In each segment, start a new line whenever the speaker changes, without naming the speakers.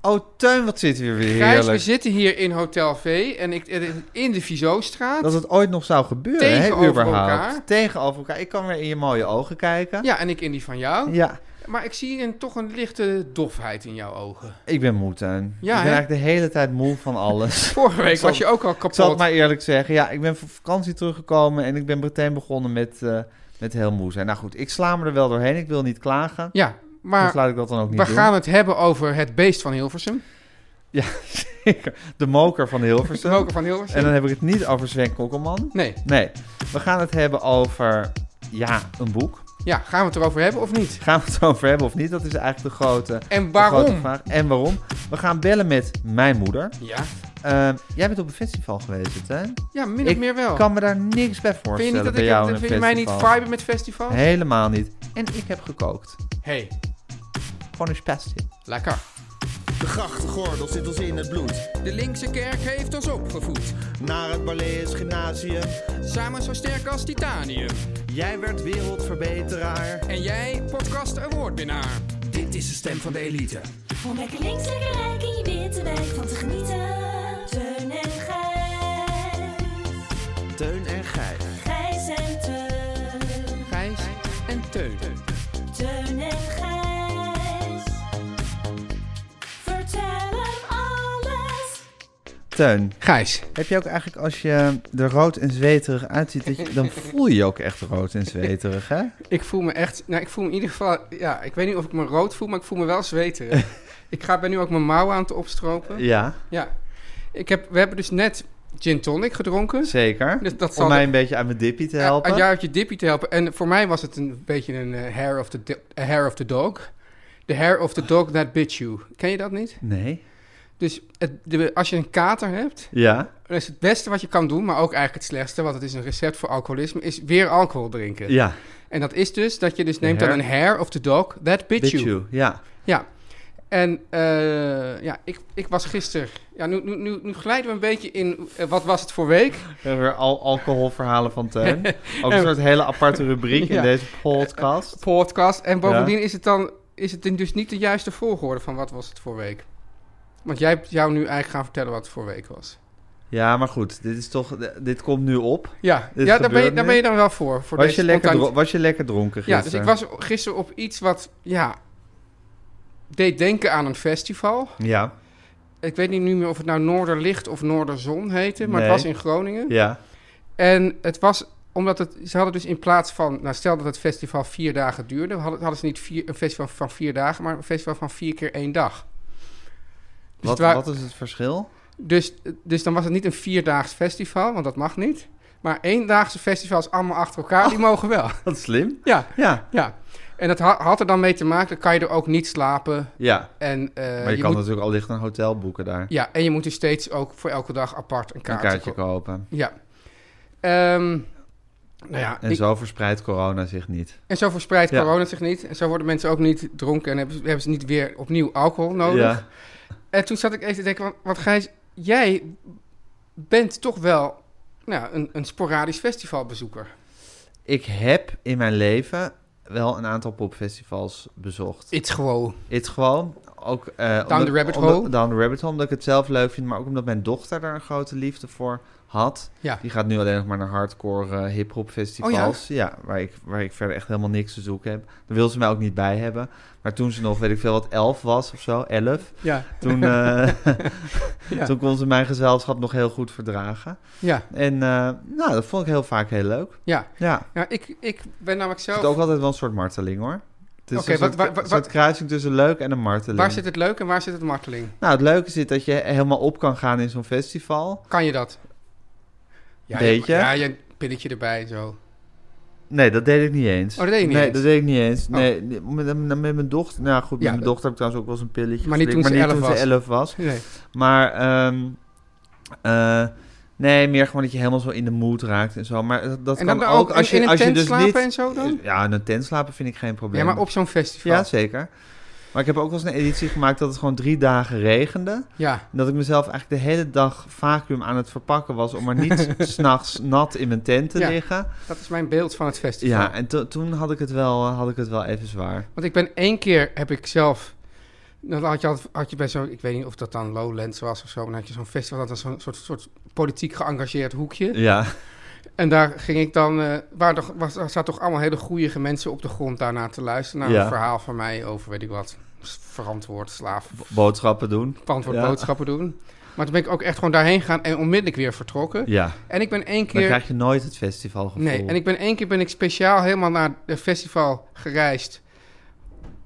Oh, Tuin, wat zit hier weer
Gijs, we
heerlijk.
zitten hier in Hotel V en ik, eh, in de Vizostraat.
Dat het ooit nog zou gebeuren, hè,
Tegenover
überhaupt.
elkaar.
Tegenover elkaar. Ik kan weer in je mooie ogen kijken.
Ja, en ik in die van jou.
Ja,
Maar ik zie een, toch een lichte dofheid in jouw ogen.
ik ben moe, Tuin. ik
Ja,
ben
hè?
eigenlijk de hele tijd moe van alles.
Vorige week
zal-
was je ook al
Ik zal het
kapot.
maar eerlijk zeggen. Ja, ik ben van vakantie teruggekomen en ik ben meteen begonnen met, eh, met heel moe zijn. Nou goed, ik sla me er wel doorheen. Ik wil niet klagen.
Ja,
dus
maar
laat ik dat dan ook niet
we
doen.
gaan het hebben over het beest van Hilversum.
De moker van
De
Hilversum.
roker van
En
Hilversum.
dan heb ik het niet over Sven Kokkelman.
Nee,
Nee, we gaan het hebben over, ja, een boek.
ja, gaan we het erover hebben of niet?
Gaan we het over hebben of niet? Dat is eigenlijk de grote,
En
de grote
waarom?
vraag. En waarom? We gaan bellen met mijn moeder.
Ja,
Ehm, jij bent op een festival geweest, hè?
ja min of
Ik
meer wel.
Ik kan me daar niks bij voorstellen
Oh. Vind je, niet dat
bij
ik,
jou
het-
in een
vind je mij niet
festival.
viben met festivals? Hé,
Helemaal niet. En ik heb gekookt. Gewoon een spastje.
lekker.
De grachtgordel zit ons in het bloed.
De linkse kerk heeft ons opgevoed.
Naar het Barlees Gymnasium.
Samen zo sterk als titanium.
Jij werd wereldverbeteraar.
En jij, podcast awardwinnaar. Dit is de stem van de elite.
Om lekker links, lekker rijk in je witte wijk van te genieten. Teun en Gijs.
Teun en Gijs.
Gijs en Teun.
Gijs en Teun.
Teun en Gijs. Vertel hem alles.
Teun,
Gijs.
heb je ook eigenlijk als je er rood en zweterig uitziet, dat je- dan voel je je ook echt rood en zweterig, hè?
Ik voel me echt... Nou, ik voel me in ieder geval... Ja, ik weet niet of ik me rood voel, maar ik voel me wel zweterig. ik ga, ben nu ook mijn mouwen aan het opstropen.
Ja,
Ja. Ik heb, we hebben dus net gin tonic gedronken.
zeker.
Dus dat
Om
zal
mij een beetje uit mijn dippie te helpen.
Aan jou uit je dippie te helpen. En voor mij was het een beetje een eh, hair, of the, di- a hair of the dog. The hair of the dog that bit you. Ken je dat niet?
Nee.
Dus het, de- als je een kater hebt,
Ja.
dan is het beste wat je kan doen, maar ook eigenlijk het slechtste, want het is een recept voor alcoholisme, is weer alcohol drinken.
Ja.
En dat is dus dat je dus neemt
hair-
dan een hair of the dog that bit,
Bit
you.
you. Ja.
Ja. En eh, ja, ik, ik was gisteren... Ja, nu, nu, nu, nu glijden we een beetje in... eh, wat was het voor week?
We hebben weer al alcoholverhalen van Teun. Ook een soort hele aparte rubriek in
Ja.
deze podcast.
podcast. En bovendien
Ja.
is het dan is het dus niet de juiste volgorde van wat was het voor week. Want jij hebt jou nu eigenlijk gaan vertellen wat het voor week was.
Ja, maar goed. Dit is toch... Dit komt nu op.
Ja,
Dit
ja daar, ben je,
gebeurt
daar
nu.
ben je dan wel voor. voor
Was
deze
je, lekker
spontaan-
dro- was je lekker dronken
Ja,
gisteren?
dus ik was gisteren op iets wat, ja, deed denken aan een festival.
Ja.
Ik weet niet nu meer of het nou Noorderlicht of Noorderzon heette, maar het
Nee.
was in Groningen.
Ja.
En het was omdat het, ze hadden dus in plaats van, nou stel dat het festival vier dagen duurde, hadden, hadden ze niet vier, een festival van vier dagen, maar een festival van vier keer één dag. Dus,
Wat,
het wa-
wat is het verschil?
dus, dus dan was het niet een vierdaags festival, want dat mag niet. Maar eendaagse festivals allemaal achter elkaar, die mogen wel.
Wat slim.
Ja,
Oh. Ja.
ja. En dat ha- had er dan mee te maken, dan kan je er ook niet slapen.
Ja.
En, eh,
Maar je, kan
moet,
natuurlijk al licht een hotel boeken daar.
Ja, en je moet dus steeds ook voor elke dag apart een
een
kaartje,
kaartje
kopen.
kopen.
Ja. Ehm, nou ja,
En
ik-
zo verspreidt corona zich niet.
En zo verspreidt
Ja.
corona zich niet. En zo worden mensen ook niet dronken en hebben, ze- hebben ze niet weer opnieuw alcohol nodig.
Ja.
En toen zat ik even te denken, want, want Gijs, jij bent toch wel nou, een, een sporadisch festivalbezoeker.
Ik heb in mijn leven wel een aantal popfestivals bezocht.
It's gewoon.
It's gewoon. Ook, eh,
the rabbit
omdat,
hole.
Down the rabbit hole, omdat ik het zelf leuk vind, maar ook omdat mijn dochter daar een grote liefde voor had.
Ja. Oh,
Die gaat nu alleen nog maar naar hardcore eh hip-hop festivals. ja, waar, ik, waar ik verder echt helemaal niks te zoeken heb. Daar wil ze mij ook niet bij hebben. Maar toen ze nog, weet ik veel wat, elf was of zo, elf.
Ja.
Toen, eh,
Ja.
toen kon ze mijn gezelschap nog heel goed verdragen.
ja.
En eh, nou, dat vond ik heel vaak heel leuk.
ja.
Ja.
Ja, ik, ik ben namelijk
Het
zelf...
is ook altijd wel een soort marteling hoor. Het is
Oké,
een
wat-
soort,
wa- wa-
een soort
wat-
kruising tussen leuk en een marteling.
Waar zit het leuk en waar zit het marteling?
Nou, het leuke zit dat je helemaal op kan gaan in zo'n festival.
Kan je dat? Ja,
Beetje.
Ja, je pilletje erbij en zo.
Nee, dat deed ik niet eens.
Oh, dat deed je niet
nee,
eens?
dat deed ik niet eens.
Oh.
Nee, met, met mijn dochter. Nou goed, met
Ja,
mijn
dat-
dochter heb ik trouwens ook wel eens een pilletje
Maar niet
geslikt,
toen ze
maar niet
11
toen ze 11 was.
Nee.
Maar ehm, eh, nee, meer gewoon dat je helemaal zo in de mood raakt en zo. Maar dat, dat
en
kan
dan ook,
als je,
in een
als je
tent
dus
slapen
niet...
en zo dan?
Ja, in een tent slapen vind ik geen probleem.
Ja, maar op zo'n festival.
Ja, zeker. Maar ik heb ook wel eens een editie gemaakt dat het gewoon drie dagen regende.
Ja.
En Dat ik mezelf eigenlijk de hele dag vacuüm aan het verpakken was om maar niet s'nachts nat in mijn tent te
Ja.
liggen.
Dat is mijn beeld van het festival.
Ja, en to- toen had ik, het wel, eh, had ik het wel even zwaar.
Want ik ben één keer heb ik zelf. Dan had je, altijd- had je bij zo'n, ik weet niet of dat dan Lowlands was of zo, maar dan had je zo'n festival, dat was zo'n soort, soort politiek geëngageerd hoekje.
Ja,
En daar ging ik dan, eh waar toch, was, er zaten toch allemaal hele goeie mensen op de grond daarna te luisteren naar
Ja.
een verhaal van mij over, weet ik wat, s- verantwoord slaaf,
bo- boodschappen doen.
verantwoord
Ja.
boodschappen doen. Maar toen ben ik ook echt gewoon daarheen gegaan en onmiddellijk weer vertrokken.
Ja,
En ik ben
dan
één keer,
krijg je nooit het festivalgevoel.
nee, en ik ben één keer ben ik speciaal helemaal naar het festival gereisd.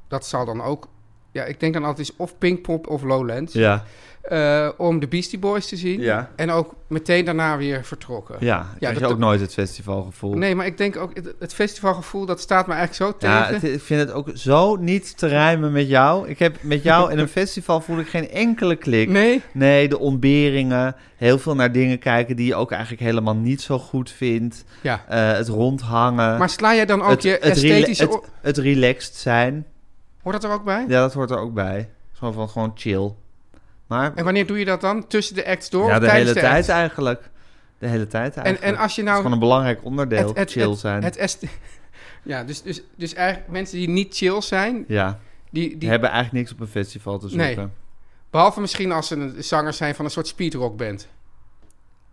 Dat zal dan ook, ja, ik denk dan altijd is of Pinkpop of Lowlands.
Ja,
eh, om de Beastie Boys te zien.
Ja.
En ook meteen daarna weer vertrokken.
ja, dan krijg je
dat-
ook nooit het festivalgevoel.
Nee, maar ik denk ook, het, het festivalgevoel, dat staat me eigenlijk zo
Ja,
tegen.
het- ik vind het ook zo niet te rijmen met jou. Ik heb met jou in een festival voel ik geen enkele klik.
nee?
Nee, de ontberingen. Heel veel naar dingen kijken die je ook eigenlijk helemaal niet zo goed vindt.
Ja.
Eh, het rondhangen.
Maar sla jij dan ook je
rela-
esthetische...
het, het relaxed zijn.
Hoort dat er ook bij?
Ja, dat hoort er ook bij. Zo van gewoon chill. Maar
En wanneer doe je dat dan? Tussen de acts door
ja,
of
de
tijdens
hele
de
tijd
act?
eigenlijk. De hele tijd
En,
eigenlijk.
en als je
dat is
nou...
gewoon een belangrijk onderdeel,
het- het-
chill
het-
zijn.
het est- ja, dus, dus, dus eigenlijk mensen die niet chill zijn,
ja,
die,
die
die,
hebben eigenlijk niks op een festival te
Nee.
zoeken.
behalve misschien als ze een zanger zijn van een soort speedrockband.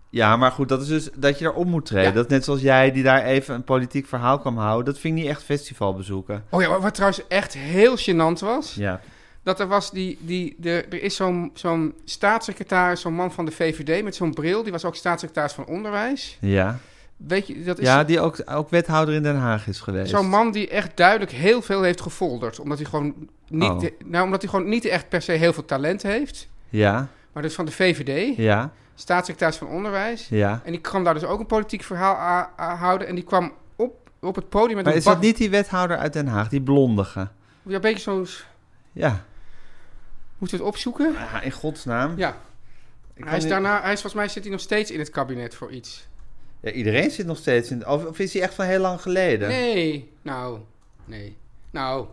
Ja, maar goed, dat is dus dat je daarop moet treden.
Ja.
Dat is net zoals jij die daar even een politiek verhaal kan houden. Dat vind ik niet echt festival bezoeken.
Oh ja, wat- wat trouwens echt heel gênant was...
Ja.
Dat er was die, die de, er is zo'n zo'n staatssecretaris, zo'n man van de VVD met zo'n bril. Die was ook staatssecretaris van onderwijs.
Ja,
Weet je, dat is
ja die ook, ook wethouder in Den Haag is geweest.
zo'n man die echt duidelijk heel veel heeft gefolderd. Omdat hij gewoon niet,
Oh.
nou, omdat hij gewoon niet echt per se heel veel talent heeft.
Ja,
Maar dus van de VVD,
ja,
staatssecretaris van onderwijs.
ja.
En die kwam daar dus ook een politiek verhaal aan- aan houden. En die kwam op, op het podium met
Maar
een
is dat
bak-
niet die wethouder uit Den Haag, die blondige?
Ja, een beetje zo'n...
Ja.
Moeten we het opzoeken?
Ah, in godsnaam.
Ja.
Ik kan
Hij is
niet-
daarna, hij is, volgens mij zit hij nog steeds in het kabinet voor iets.
Ja, iedereen zit nog steeds in... Of, of is hij echt van heel lang geleden?
Nee, nou, nee. Nou.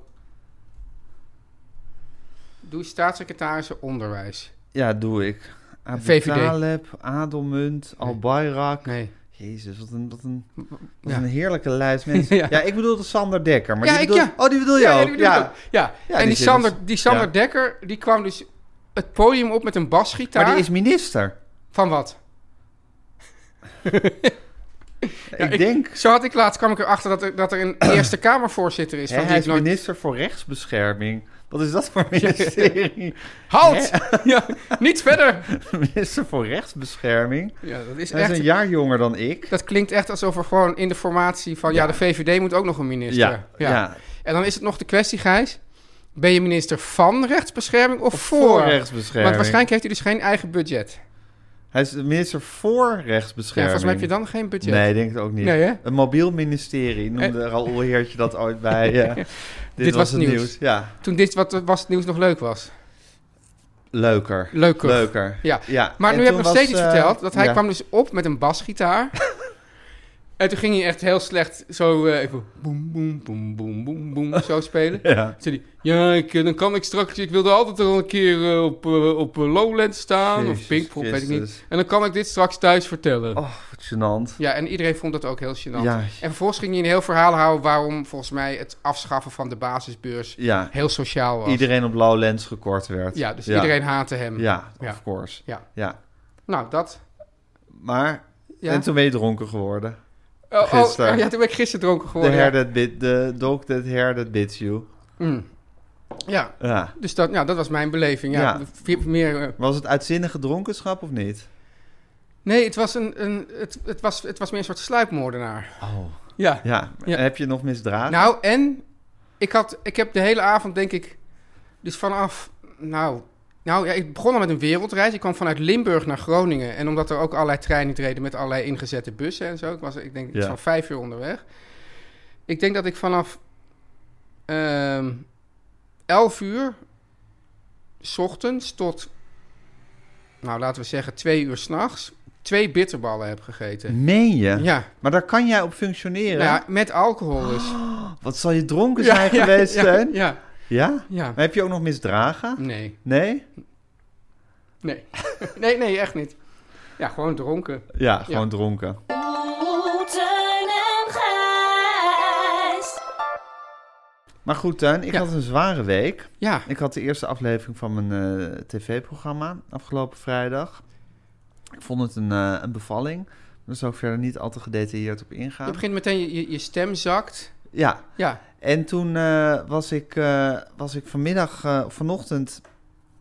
Doe staatssecretarissen onderwijs.
Ja, doe ik. Abu
VVD.
Taleb, Adelmunt, Al Bayrak.
Nee.
Jezus, wat een, wat, een, wat
Ja.
een heerlijke lijst mensen. ja.
Ja.
ik bedoelde Sander Dekker. Maar
Ja,
die
ik-
bedoel...
ja.
Oh, die bedoel je ook?
die
ja.
bedoel ik. ja.
Ja,
en
die
die
zit
Sander,
dus-
die Sander
ja.
Dekker, die kwam dus het podium op met een basgitaar.
Maar die is minister.
Van wat?
ik, denk...
Zo had ik laatst, kwam ik erachter dat er, dat er een Eerste Kamervoorzitter is.
Hè,
Van die
hij is
ik nooit-
minister voor rechtsbescherming. Wat is dat voor ministerie?
Halt! Ja, niet verder!
minister voor rechtsbescherming?
Ja, dat is
Hij is
echt...
een jaar jonger dan ik.
Dat klinkt echt alsof er gewoon in de formatie van... Ja, de VVD moet ook nog een minister.
Ja, ja.
En dan is het nog de kwestie, Gijs. Ben je minister van rechtsbescherming of, voor?
Voor rechtsbescherming.
Want waarschijnlijk heeft hij dus geen eigen budget.
Hij is de minister voor
Ja,
rechtsbescherming.
volgens mij heb je dan geen budget.
Nee, ik denk het ook niet.
Nee, hè? Eh.
Een mobiel ministerie noemde Raoul Heertje dat ooit bij. eh, dit, was, het nieuws. Ja,
Toen dit wat was het nieuws nog leuk was.
leuker.
Leuker.
Leuker.
Ja.
ja.
Maar
En
nu heb
toen
ik nog steeds
was,
iets
eh,
verteld. Dat hij
ja.
kwam dus op met een basgitaar. en toen ging hij echt heel slecht zo eh, even boem, boem, boem, boem, boem, boem, zo spelen.
Ja.
Toen zei hij, ja, ik, eh, dan kan ik straks... Ik wilde altijd al een keer eh, op, eh, op eh, Lowland staan
Jezus
of Pinkpop, weet ik
Christus.
niet. En dan kan ik dit straks thuis vertellen.
Oh, wat gênant.
Ja, en iedereen vond dat ook heel gênant.
Ja.
En vervolgens ging hij een heel verhaal houden waarom volgens mij het afschaffen van de basisbeurs
Ja,
heel sociaal was.
iedereen op Lowlands gekort werd.
Ja, dus iedereen haatte hem.
Ja,
Ja.
of course.
Ja.
Ja.
Nou, dat.
Maar
Ja.
En toen ben je dronken geworden.
Oh, oh,
gisteren.
ja, toen ben ik gisteren dronken
De
geworden.
hair
Oh, ja.
that bit, de dog that hair that bits you.
Mm. Ja,
Ja.
dus dat, ja, dat was mijn beleving. Ja.
Ja.
Ve- Meer, eh,
Was het uitzinnige dronkenschap of niet?
nee, het was, een, een, het, het, was, het was meer een soort sluipmoordenaar.
Oh.
Ja.
Ja.
Ja.
En Heb je nog misdragen?
Nou, en ik, had, ik heb de hele avond, denk ik, dus vanaf, nou, nou ja, ik begon al met een wereldreis. Ik kwam vanuit Limburg naar Groningen. En omdat er ook allerlei treinen niet reden met allerlei ingezette bussen en zo. Ik was, ik denk, iets
Ja.
van vijf uur onderweg. Ik denk dat ik vanaf ehm elf uur, s ochtends tot, nou laten we zeggen, twee uur s'nachts, twee bitterballen heb gegeten.
Meen je?
Ja,
Maar daar kan jij op functioneren.
nou ja, met alcohol dus.
Wat zal je dronken zijn geweest,
ja,
Teun? Ja,
Ja, ja.
Maar heb je ook nog misdragen?
Nee,
Nee?
nee. nee, nee, echt niet. Ja, gewoon dronken.
Ja, gewoon dronken.
Oeh, Teun en Gijs.
Maar goed, Teun, ik
Ja.
had een zware week.
Ja,
Ik had de eerste aflevering van mijn eh, tv-programma afgelopen vrijdag. Ik vond het een, eh, een bevalling. Daar zou ik verder niet al te gedetailleerd op
je
ingaan.
begint meteen, je- je, je stem zakt.
Ja,
Ja,
En toen eh, was, ik, eh, was ik vanmiddag, eh, vanochtend...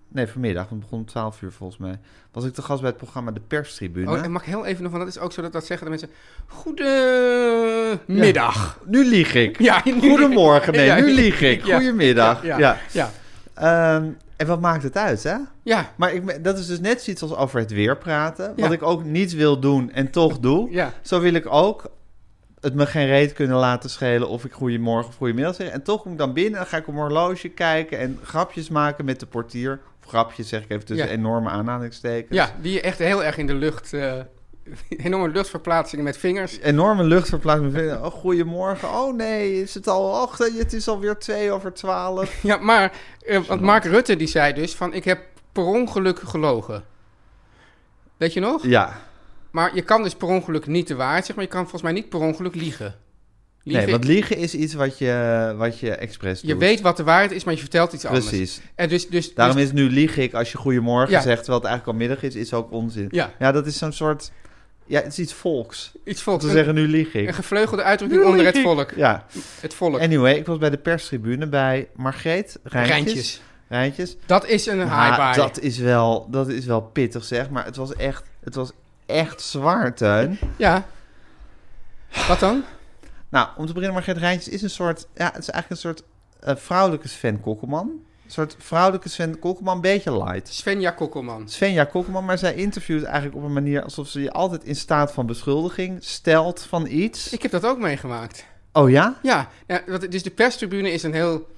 Nee, vanmiddag, want het begon om 12 uur volgens mij. Was ik te gast bij het programma De Perstribune.
oh, en mag ik heel even nog, want dat is ook zo dat dat zeggen de mensen... Goedemiddag.
Nu lieg ik.
Ja.
Goedemorgen, nee,
Ja.
nu lieg ik.
Ja.
Goedemiddag. Ja,
Ja, ja, ja.
Ehm, en wat maakt het uit, hè?
ja.
Maar ik, me- dat is dus net zoiets als over het weer praten. Wat
Ja.
ik ook niet wil doen en toch doe. Zo wil ik ook het me geen reet kunnen laten schelen of ik goeiemorgen of goeiemiddag zeg. En toch kom ik dan binnen en ga ik op mijn horloge kijken en grapjes maken met de portier. Of grapjes zeg ik even tussen
Ja.
enorme aanhalingstekens.
Ja, die je echt heel erg in de lucht... eh, enorme luchtverplaatsingen met vingers.
Enorme luchtverplaatsing. Oh, goeiemorgen. Oh nee, is het al? Och, het is alweer twee over twaalf.
Ja, maar eh, want Mark Rutte die zei dus van... Ik heb per ongeluk gelogen. Weet je nog?
Ja,
Maar je kan dus per ongeluk niet de waarheid zeggen, maar je kan volgens mij niet per ongeluk liegen.
nee, want liegen is iets wat je, wat je expres doet.
je weet wat de waarheid is, maar je vertelt iets anders.
Precies.
En dus, dus,
Daarom
dus-
is nu lieg ik als je goeiemorgen
Ja.
zegt, terwijl het eigenlijk al middag is, is ook onzin.
Ja.
dat is zo'n soort... Ja, het is iets volks.
iets
Om
volks.
te
Een,
zeggen, nu lieg ik.
een gevleugelde uitdrukking onder het volk.
Ja,
Het volk.
anyway, ik was bij de perstribune bij Margreet Rijntjes.
Rijntjes.
Rijntjes.
Dat is een
Maar
high buy.
dat, is wel, dat is wel pittig zeg, maar het was echt, het was echt zwaar, Teun.
Ja. Wat dan?
Nou, om te beginnen, Margreet Rijntjes is een soort, ja, het is eigenlijk een soort eh, vrouwelijke Sven Kokkelman. Een soort vrouwelijke Sven Kokkelman, een beetje light.
Svenja Kokkelman.
Svenja Kokkelman, maar zij interviewt eigenlijk op een manier alsof ze je altijd in staat van beschuldiging stelt van iets.
Ik heb dat ook meegemaakt.
Oh ja?
Ja, ja, wat- dus de perstribune is een heel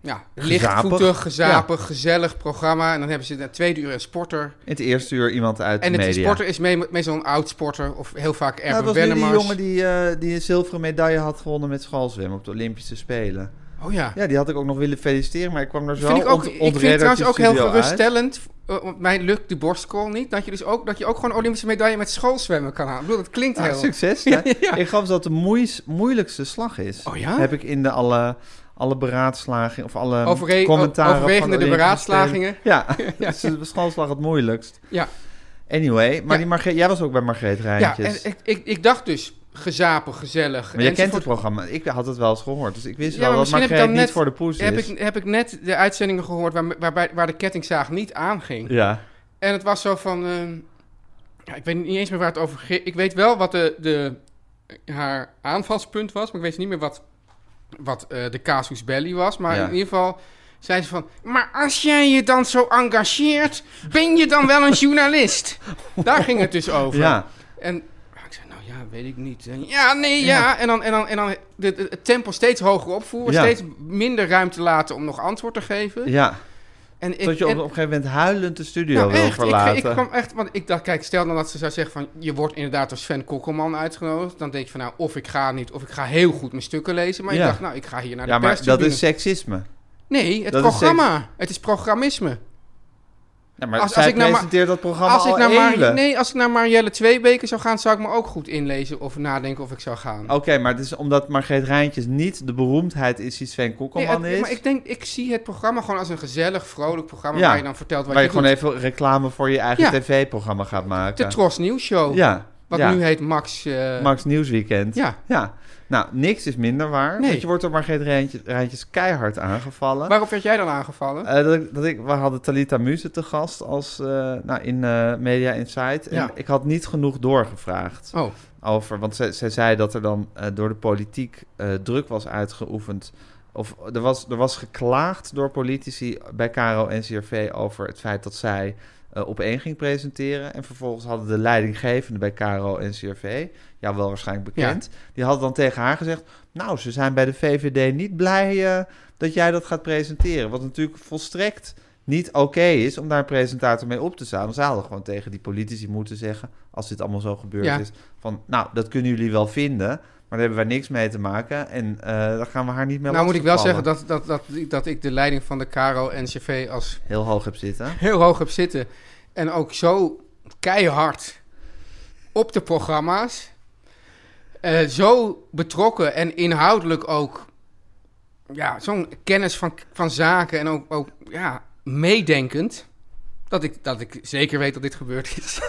ja,
Gezapig.
lichtvoetig, gezapig, gezellig programma. En dan hebben ze in het tweede uur een sporter.
In het eerste uur iemand uit
En
de
het
media.
sporter is mee- meestal een oud sporter of heel vaak
Ja, dat
Erwin
was nu die
Wennemars.
jongen die, eh, die een zilveren medaille had gewonnen met schoolzwemmen op de Olympische Spelen.
Oh ja.
Ja, die had ik ook nog willen feliciteren, maar ik kwam daar zo
vind ik, ook,
ont-
ik vind het
ontredderd
trouwens
de
ook heel
studio uit.
geruststellend. eh, Want mij lukt de borstcrawl niet. Dat je dus ook, dat je ook gewoon Olympische medaille met schoolzwemmen kan halen. Ik bedoel, dat klinkt
Nou,
heel...
succes. hè?
Ja.
Ik geloof dat de moeis, moeilijkste slag is.
Oh ja?
Heb ik in de alle, alle beraadslagingen of alle
Overre-
commentaren van
overwegende de
Olympische
beraadslagingen.
Spelen. Ja, dat is de schoolslag het moeilijkst.
Ja,
Anyway, maar
Ja.
die Margreet, jij was ook bij Margreet
ja
Rijntjes.
en ik, ik, ik dacht dus gezapig, gezellig.
maar jij kent het
enzovoort.
programma. Ik had het wel eens gehoord, dus ik wist
Ja,
wel dat
maar misschien heb ik
Margreet
dan
niet
net-
voor de poes is.
Heb ik, heb ik net de uitzendingen gehoord waar, waarbij, waar de kettingzaag niet aanging.
Ja.
En het was zo van... ehm, ja, ik weet niet eens meer waar het over ging. Ik weet wel wat de, de, haar aanvalspunt was, maar ik weet niet meer wat, wat eh, de casus belli was. Maar
Ja.
in ieder geval zei ze van... Maar als jij je dan zo engageert, ben je dan wel een journalist? Daar ging het dus over.
ja.
En ah, ik zei, nou ja, weet ik niet. En, ja, nee, ja. En dan, en dan, en dan de- de- het tempo steeds hoger opvoeren,
Ja.
steeds minder ruimte laten om nog antwoord te geven.
ja.
En ik,
Tot je op,
en-
op een gegeven moment huilend de studio
nou,
wil
echt,
verlaten.
Ik, ik kwam echt, want ik dacht, kijk, stel dan dat ze zou zeggen van, je wordt inderdaad door Sven Kokkelman uitgenodigd. Dan denk je van, nou, of ik ga niet, of ik ga heel goed mijn stukken lezen. Maar
Ja.
ik dacht, nou, ik ga hier naar
ja,
de
maar dat
perstribune.
is seksisme.
Nee, het
dat is
programma. Het is programmisme.
Ja, maar
Als- als
zij
ik nou maar-
presenteert dat programma
Als ik,
al
naar Mar-
eeuwen.
nee, als ik naar Marielle Tweebeke zou gaan, zou ik me ook goed inlezen of nadenken of ik zou gaan.
Oké, maar het is omdat Margreet Rijntjes niet de beroemdheid is die Sven
Nee,
Kokkelman
het-
is.
Maar ik denk, ik zie het programma gewoon als een gezellig, vrolijk programma
Ja.
waar je dan vertelt wat
waar je
je,
gewoon
doet.
even reclame voor je eigen
Ja.
tv-programma gaat maken.
De Tros Nieuws Show.
Ja,
Wat
Ja.
nu heet Max... eh,
Max Nieuwsweekend.
Ja.
ja. Nou, niks is minder waar.
Nee.
Want je wordt door Margreet Rijntjes, Rijntjes keihard aangevallen.
Waarop werd jij dan aangevallen?
Eh, dat, ik- dat ik, we hadden Talita Muze te gast als, eh, nou, in eh, Media Insight. En
Ja.
ik had niet genoeg doorgevraagd.
oh,
over. Want zij, zij zei dat er dan eh, door de politiek eh, druk was uitgeoefend. Of er was, er was geklaagd door politici bij Caro en CRV over het feit dat zij eh op één ging presenteren. En vervolgens hadden de leidinggevenden bij Caro en CRV, ja wel waarschijnlijk bekend, die hadden dan tegen haar gezegd: Nou, ze zijn bij de VVD niet blij eh, dat jij dat gaat presenteren. Wat natuurlijk volstrekt niet oké is om daar een presentator mee op te staan. Want Ze hadden gewoon tegen die politici moeten zeggen, als dit allemaal zo gebeurd
Ja.
is, van nou, dat kunnen jullie wel vinden, maar daar hebben wij niks mee te maken en eh dan gaan we haar niet meer
nou moet ik wel zeggen
lastigvallen.
dat, dat, dat, dat ik de leiding van de Caro NCV als
Heel hoog heb zitten.
heel hoog heb zitten. En ook zo keihard op de programma's. Eh, zo betrokken en inhoudelijk ook. Ja, zo'n kennis van, van zaken en ook, ook ja, meedenkend. Dat ik, dat ik zeker weet dat dit gebeurd is.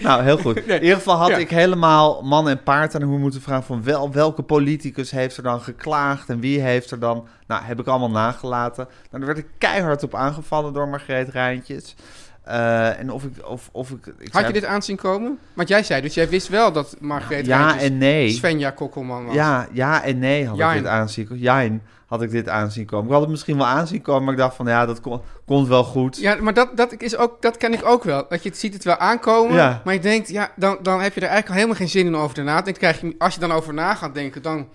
Nou, heel goed. In ieder geval had
Ja.
ik helemaal man en paard aan hoe moeten vragen van wel, welke politicus heeft er dan geklaagd en wie heeft er dan... Nou, heb ik allemaal nagelaten. Nou, daar werd ik keihard op aangevallen door Margreet Rijntjes. Eh, en of ik... Of, of ik, ik
Had
zei-
je dit aanzien komen? Want jij zei dus, jij wist wel dat Margreet
Ja
Rijntjes
en nee.
Svenja Kokkelman was.
Ja, ja en nee had
Jain.
ik dit aanzien komen. Jain had ik dit aanzien komen. Ik had het misschien wel aanzien komen, maar ik dacht van ja, dat kom- komt wel goed.
Ja, maar dat, dat, is ook, dat ken ik ook wel. Dat je het ziet het wel aankomen,
Ja.
maar je denkt, ja, dan, dan heb je er eigenlijk al helemaal geen zin in om over te nadenken. Dan Krijg je, als je dan over na gaat denken, dan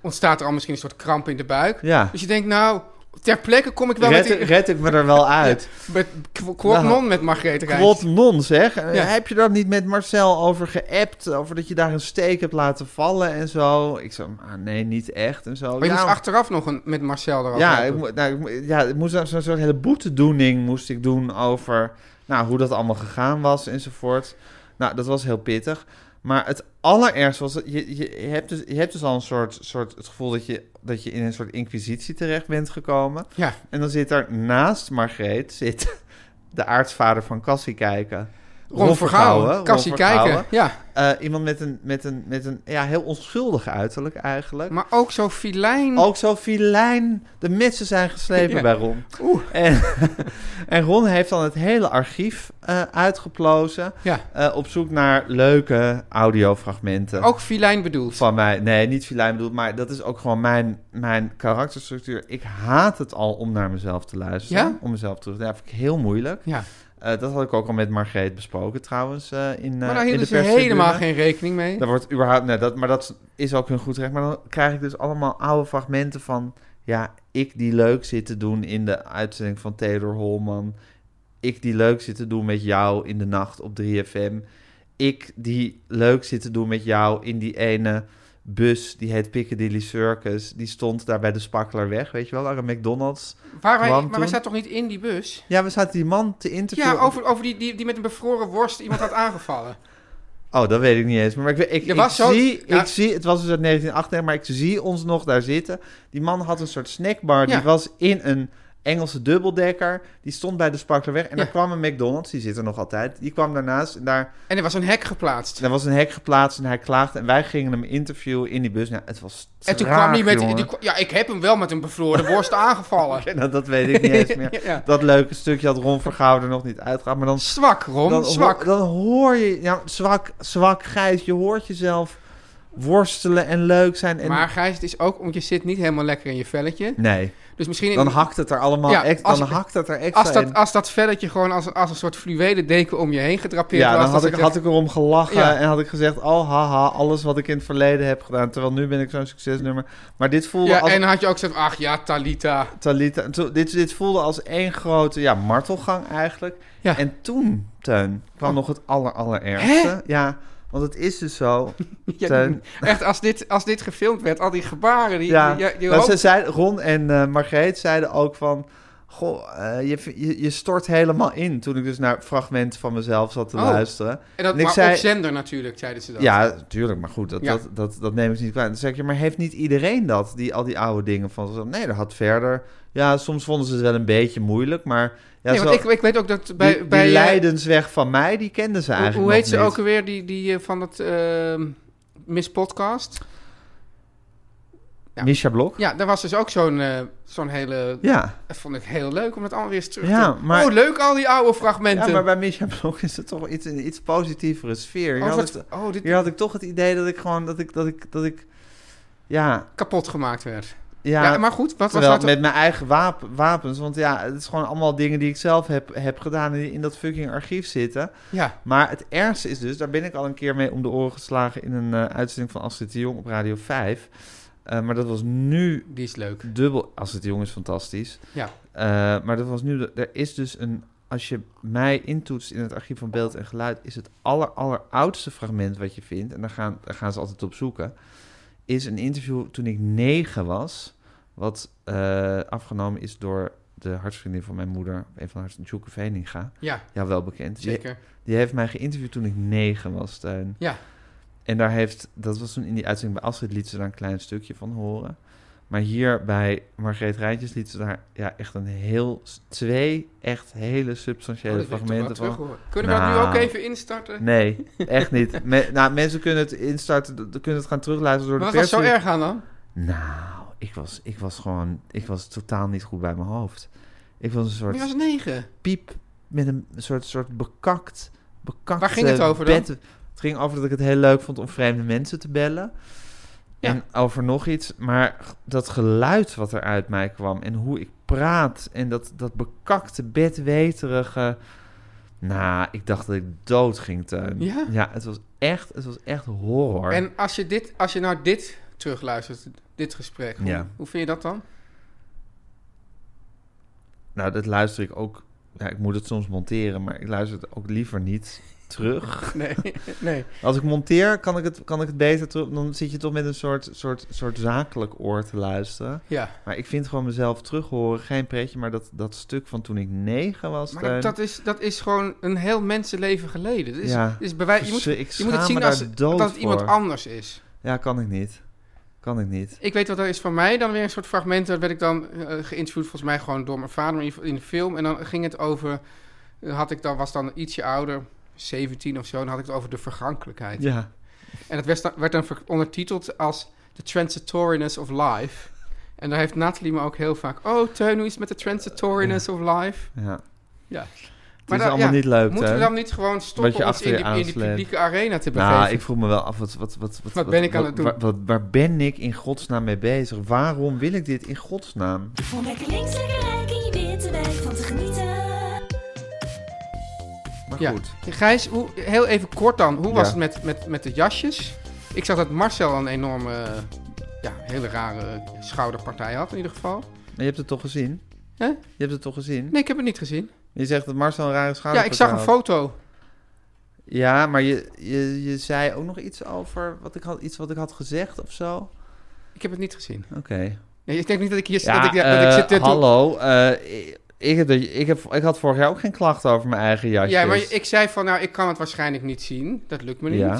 ontstaat er al misschien een soort kramp in de buik.
Ja.
Dus je denkt, nou, ter plekke kom ik wel
Red,
met, die-
red ik me er wel uit.
met kw- kwot
Nou,
non met Margreet Rijns.
Quot non, zeg. Eh,
Ja.
Heb je daar niet met Marcel over geappt? Over dat je daar een steek hebt laten vallen en zo? Ik zei, ah, nee, niet echt en zo.
Maar je
ja,
moest achteraf nog een, met Marcel erover
ja, ik,
hebben.
mo- nou, ik, mo- ja, ik moest daar zo'n soort hele boetedoening moest ik doen over nou, hoe dat allemaal gegaan was enzovoort. Nou, dat was heel pittig. Maar het allerergste was, dat je, je, je hebt, dus, je hebt dus al een soort, soort het gevoel dat je, dat je in een soort inquisitie terecht bent gekomen.
Ja.
En dan zit daar naast Margreet zit de aartsvader van Cassie kijken. Vergouwen,
Ron Vergouwen,
Ron
Cassie
Vergouwen.
Kijker. Ja,
Eh, iemand met een, met een, met een ja, heel onschuldig uiterlijk eigenlijk.
maar ook zo filijn.
Ook zo filijn. De mitsen zijn geslepen
Ja.
bij Ron.
Oeh.
En, en Ron heeft dan het hele archief eh, uitgeplozen.
Ja,
eh, op zoek naar leuke audiofragmenten.
ook filijn bedoeld.
Van mij. Nee, niet filijn bedoeld. Maar dat is ook gewoon mijn, mijn karakterstructuur. Ik haat het al om naar mezelf te luisteren.
Ja?
Om mezelf terug te Ja, vind ik heel moeilijk.
Ja,
Eh, dat had ik ook al met Margreet besproken trouwens. eh, in, eh,
maar daar
in de
hielden ze
perstribune.
helemaal geen rekening mee.
Daar wordt überhaupt, nee, dat, maar dat is ook hun goed recht. Maar dan krijg ik dus allemaal oude fragmenten van, ja, ik die leuk zit te doen in de uitzending van Theodor Holman. Ik die leuk zit te doen met jou in de nacht op 3FM. Ik die leuk zit te doen met jou in die ene bus, die heet Piccadilly Circus. Die stond daar bij de Spakkelerweg, weet je wel, waar een McDonald's.
Waar wij,
Want
maar wij
toen-
zaten toch niet in die bus?
Ja, we zaten die man te interviewen.
Ja, over, over die, die, die met een bevroren worst iemand had aangevallen.
Oh, dat weet ik niet eens. Maar ik, ik,
Je
ik,
was zo-
zie,
ja.
ik zie, het was dus uit 1998, maar ik zie ons nog daar zitten. Die man had een soort snackbar.
Ja.
Die was in een Engelse dubbeldekker. Die stond bij de Sparklerweg. En
Ja.
daar kwam een McDonald's, die zit er nog altijd. Die kwam daarnaast en daar,
En er was een hek geplaatst.
daar was een hek geplaatst en hij klaagde. En wij gingen hem interviewen in die bus. Nou, het was
en toen
traag,
kwam hij met...
jongen.
Die, ja, ik heb hem wel met een bevroren worst aangevallen.
Nou, dat weet ik niet eens meer.
Ja.
Dat leuke stukje had Ron Vergouwen er nog niet uitgehaald. Maar dan
Zwak, Ron,
dan,
zwak.
ho- dan hoor je, ja, zwak, zwak, Gijs, je hoort jezelf worstelen en leuk zijn. En
maar Gijs, het is ook... Want je zit niet helemaal lekker in je velletje.
Nee,
Dus misschien... in-
dan hakt het er allemaal
Ja,
ex-
als-
dan hakt het er extra
als, dat,
in.
als dat velletje gewoon als, als een soort fluwelen deken om je heen gedrapeerd
ja,
was...
dan had
zat
ik,
je-
had ik erom gelachen
Ja.
en had ik gezegd... oh, haha, alles wat ik in het verleden heb gedaan... terwijl nu ben ik zo'n succesnummer. Maar dit voelde
ja,
als...
en dan had je ook zoiets van, ach ja, Talita.
Talita, zo- dit, dit voelde als één grote ja, martelgang eigenlijk.
Ja. Oh.
En toen, Teun, kwam nog het aller, allerergste. Ja, want het is dus zo...
Ja,
Teun.
echt, als dit, als dit gefilmd werd, al die gebaren... Die,
Ja,
die- die- die
nou,
hoop-
ze zeiden, Ron en eh Margreet zeiden ook van... Goh, eh, je, v- je, je stort helemaal in. Toen ik dus naar fragmenten van mezelf zat te
Oh.
luisteren.
En dat
En ik
maar
zei-
op zender natuurlijk, zeiden ze dat.
Ja, tuurlijk, maar goed, dat,
Ja.
dat, dat, dat neem ik niet kwaad. Dan zeg je, maar heeft niet iedereen dat, die, al die oude dingen van... zo- Nee, dat had verder... Ja, soms vonden ze het wel een beetje moeilijk, maar... Ja,
nee,
zo,
want ik, ik weet ook dat bij...
die,
bij
die
eh,
leidensweg van mij, die kenden ze
hoe-
eigenlijk
Hoe heet ze
nog
ook
niet.
alweer, die, die eh, van dat ehm Miss Podcast? ja.
Misha Blok?
Ja, daar was dus ook zo'n eh, zo'n hele...
Ja.
Dat vond ik heel leuk om dat allemaal weer eens terug
Ja,
te...
maar-
Oh, leuk al die oude fragmenten.
ja, maar bij Misha Blok is het toch iets, een iets positievere sfeer. Hier,
oh,
had
wat-
ik,
oh, dit
hier had ik toch het idee dat ik gewoon... Dat ik, dat ik, dat ik ja,
kapot gemaakt werd.
ja,
Ja, maar goed, wat was
Terwijl
dat?
met mijn eigen wap- wapens. Want ja, het is gewoon allemaal dingen die ik zelf heb, heb gedaan en die in dat fucking archief zitten.
Ja,
Maar het ergste is dus, daar ben ik al een keer mee om de oren geslagen in een eh, uitzending van Astrid de Jong op Radio 5. Eh, maar dat was nu
die is leuk.
dubbel. Astrid de Jong is fantastisch.
Ja.
Eh, maar dat was nu. de- Er is dus een. Als je mij intoetst in het archief van beeld en geluid, is het aller, alleroudste fragment wat je vindt. En daar gaan, daar gaan ze altijd op zoeken. Is een interview toen ik negen was. Wat eh, afgenomen is door de hartsvriendin van mijn moeder. Een van haar Joeke Veninga.
Ja,
Ja, wel bekend. Die-
zeker. Oh,
die heeft mij geïnterviewd toen ik negen was, Teun.
Ja.
En daar heeft, dat was toen in die uitzending bij Astrid, liet ze daar een klein stukje van horen. Maar hier bij Margreet Rijntjes liet ze daar ja, echt een heel, twee echt hele
Oh,
substantiële
dat wil ik toch wel
fragmenten van.
terug horen. Kunnen we dat
Nou.
nu ook even instarten?
Nee, echt niet. Me- nou, mensen kunnen het instarten, d- kunnen het gaan terugluisteren door
Maar wat
de
was
pers.
zo erg aan dan?
Nou, ik was, ik was gewoon, ik was totaal niet goed bij mijn hoofd. Ik was een soort
Je was negen.
piep met een soort, soort bekakt, bekakt.
Waar ging het over dan?
Het ging over dat ik het heel leuk vond om vreemde mensen te bellen.
Ja.
En over nog iets, maar g- dat geluid wat er uit mij kwam en hoe ik praat en dat, dat bekakte, bedweterige. Nou, ik dacht dat ik dood ging tuin.
Ja?
het was echt, het was echt horror.
En als je, dit, als je nou dit terugluistert, dit gesprek, hoe,
Ja.
hoe vind je dat dan?
Nou, dat luister ik ook. Ja, ik moet het soms monteren, maar ik luister het ook liever niet terug.
Nee, nee.
Als ik monteer, kan ik het, kan ik het beter terug. Dan zit je toch met een soort, soort, soort zakelijk oor te luisteren.
Ja.
Maar ik vind gewoon mezelf terug horen geen pretje. Maar dat, dat stuk van toen ik negen was.
Maar
Teun,
dat is, dat is gewoon een heel mensenleven geleden. Dat is,
Ja.
dat is bewij- je moet,
verse- ik
je
schaam
moet het zien
me
als
daar dood
dat het iemand
voor.
anders is.
Ja, kan ik niet. Kan ik niet.
Ik weet wat er is van mij, dan weer een soort fragment. Daar werd ik dan eh, geïnterviewd, volgens mij gewoon door mijn vader maar in ieder geval in de film. En dan ging het over, eh, had ik dan, was dan ietsje ouder, 17 of zo, en dan had ik het over de vergankelijkheid.
Ja.
En dat werd dan, werd dan ver- ondertiteld als The Transitoriness of Life. En daar heeft Nathalie me ook heel vaak... Oh, Teun, hoe is het met de Transitoriness of Life?
ja.
Ja.
Het
Maar
is
dan-
allemaal
ja,
niet leuk.
Moeten we
Teun.
dan niet gewoon
Wat je
stoppen ons
achter
in
je
die, in die
aansleept.
publieke arena te begeven?
Nou, ik vroeg me wel af, wat, wat, wat, wat,
Wat ben ik aan het doen?
Waar, wat- waar ben ik in godsnaam mee bezig? Waarom wil ik dit in godsnaam?
Om lekker links, lekker rijk in je witte wijk van te genieten.
Maar
Ja.
goed.
Gijs, hoe, heel even kort dan. Hoe was
Ja.
het met, met, met de jasjes? Ik zag dat Marcel een enorme, ja, hele rare schouderpartij had in ieder geval.
Maar je hebt het toch gezien?
Hè?
Je hebt het toch gezien?
Nee, ik heb het niet gezien.
Je zegt dat Marcel een rare schouder
Ja, ik zag een
had.
foto.
Ja, maar je, je, je zei ook nog iets over wat ik had, iets wat ik had gezegd of zo. Oké.
Ik heb het niet gezien. Nee, ik denk niet dat ik hier zit. dat ik, dat
eh,
ik zit dit te-
hallo. eh, ik- ik, heb, dat- ik, heb, ik had vorig jaar ook geen klachten over mijn eigen jasjes.
Ja, maar ik zei van, nou, ik kan het waarschijnlijk niet zien. Dat lukt me niet.
Ja.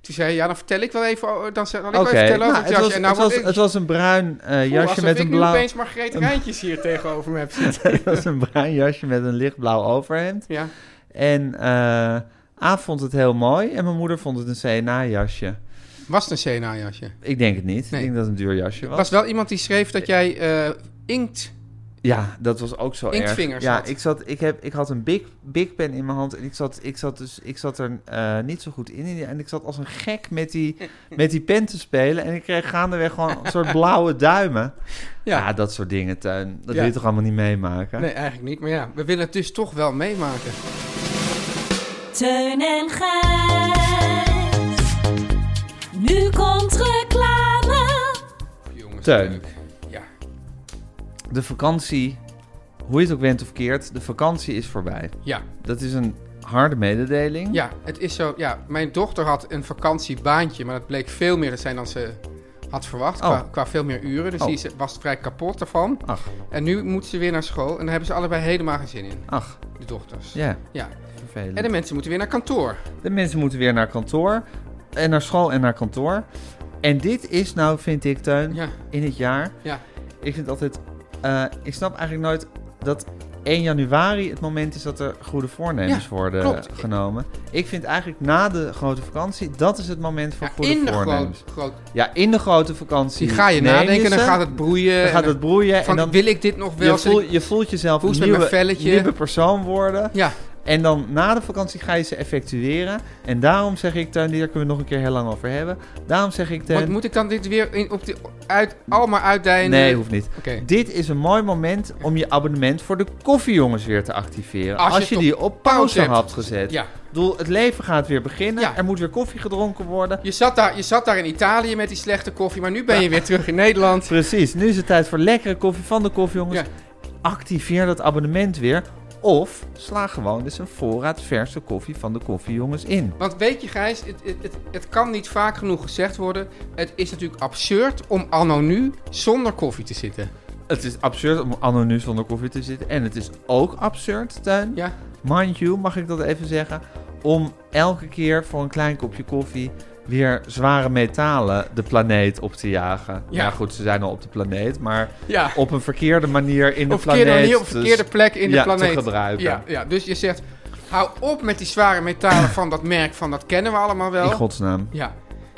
Toen zei je, ja, dan vertel ik wel even, o- dan zal ik
Oké,
wel even vertellen
nou,
over
het,
het jasje.
was,
en nou
het, was,
word ik-
het was een bruin eh,
voel
jasje
alsof
met een
ik
blauw...
nu opeens Margreet Rijntjes hier tegenover me heb zitten.
het was een bruin jasje met een lichtblauw overhemd.
Ja,
En eh A vond het heel mooi en mijn moeder vond het een CNA-jasje.
was het een CNA-jasje.
Ik denk het niet.
Nee.
Ik denk dat het een duur jasje
Er
was.
was wel iemand die schreef dat jij eh, inkt...
Ja, dat was ook zo erg.
Inktvingers
Ja,
had.
ik, zat, ik, heb, ik had een big, big pen in mijn hand en ik zat, ik zat, dus, ik zat er eh, niet zo goed in. in die- En ik zat als een gek met die, met die pen te spelen. En ik kreeg gaandeweg gewoon een soort blauwe duimen. Ja,
Ja,
dat soort dingen, Tuin. Dat
Ja.
wil je toch allemaal niet meemaken?
nee, eigenlijk niet. Maar ja, we willen het dus toch wel meemaken.
Teun en Gijs. Nu komt reclame.
Jongens,
Teun.
leuk. Ja,
De vakantie, hoe je het ook went of keert, de vakantie is voorbij.
ja,
Dat is een harde mededeling.
ja, het is zo... Ja, mijn dochter had een vakantiebaantje, maar dat bleek veel meer te zijn dan ze had verwacht.
Oh.
Qua, qua veel meer uren. Dus
Oh.
die is- was vrij kapot ervan.
Ach,
En nu moet ze weer naar school. En daar hebben ze allebei helemaal geen zin in.
ach,
De dochters.
ja,
Ja.
vervelend.
En de mensen moeten weer naar kantoor.
De mensen moeten weer naar kantoor. En naar school en naar kantoor. En dit is nou, vind ik, Teun,
Ja.
in het jaar.
Ja.
Ik vind altijd... eh, ik snap eigenlijk nooit dat 1 januari het moment is dat er goede voornemens
Ja,
worden
klopt.
genomen. Ik vind eigenlijk na de grote vakantie, dat is het moment voor
Ja,
goede
in de
voornemens.
groot, groot.
Ja, in de grote vakantie.
Die ga je
neem
nadenken. Dan
ze,
gaat het broeien.
dan
en
gaat het broeien.
van,
en dan
wil ik dit nog wel?
je,
Zit ik-
voel, je voelt jezelf
Hoe is
een
het met mijn
nieuwe,
velletje?
nieuwe persoon worden.
Ja.
En dan na de vakantie ga je ze effectueren. En daarom zeg ik, Teun, hier kunnen we nog een keer heel lang over hebben. Daarom zeg ik,
Wat
Teun...
moet ik dan dit weer in, op de, uit, allemaal uitdijen?
Nee, hoeft niet.
eh, Oké.
Dit is een mooi moment om je abonnement voor de koffiejongens weer te activeren.
Als
Als,
je
je,
het
die op pauze
pauze hebt.
had gezet.
Ja.
Ik bedoel, het leven gaat weer beginnen.
Ja.
Er moet weer koffie gedronken worden.
Je zat, daar, je zat daar in Italië met die slechte koffie, maar nu ben je weer terug in Nederland.
Precies, nu is het tijd voor lekkere koffie van de koffiejongens.
Ja.
Activeer dat abonnement weer. Of sla gewoon dus een voorraad verse koffie van de koffiejongens in.
Want weet je, Gijs, het, het, het, het kan niet vaak genoeg gezegd worden. Het is natuurlijk absurd om anno nu zonder koffie te zitten.
Het is absurd om anno nu zonder koffie te zitten. En het is ook absurd, Tuin.
Ja,
Mind you, mag ik dat even zeggen? Om elke keer voor een klein kopje koffie weer zware metalen de planeet op te jagen. Ja,
Ja.
goed, ze zijn al op de planeet, maar
ja.
op een verkeerde manier in de
Op verkeerde
planeet.
manier, op
dus-
verkeerde plek in
ja,
de planeet.
te gebruiken.
Ja, ja, dus je zegt, hou op met die zware metalen van dat merk, van dat kennen we allemaal wel.
In godsnaam.
Ja.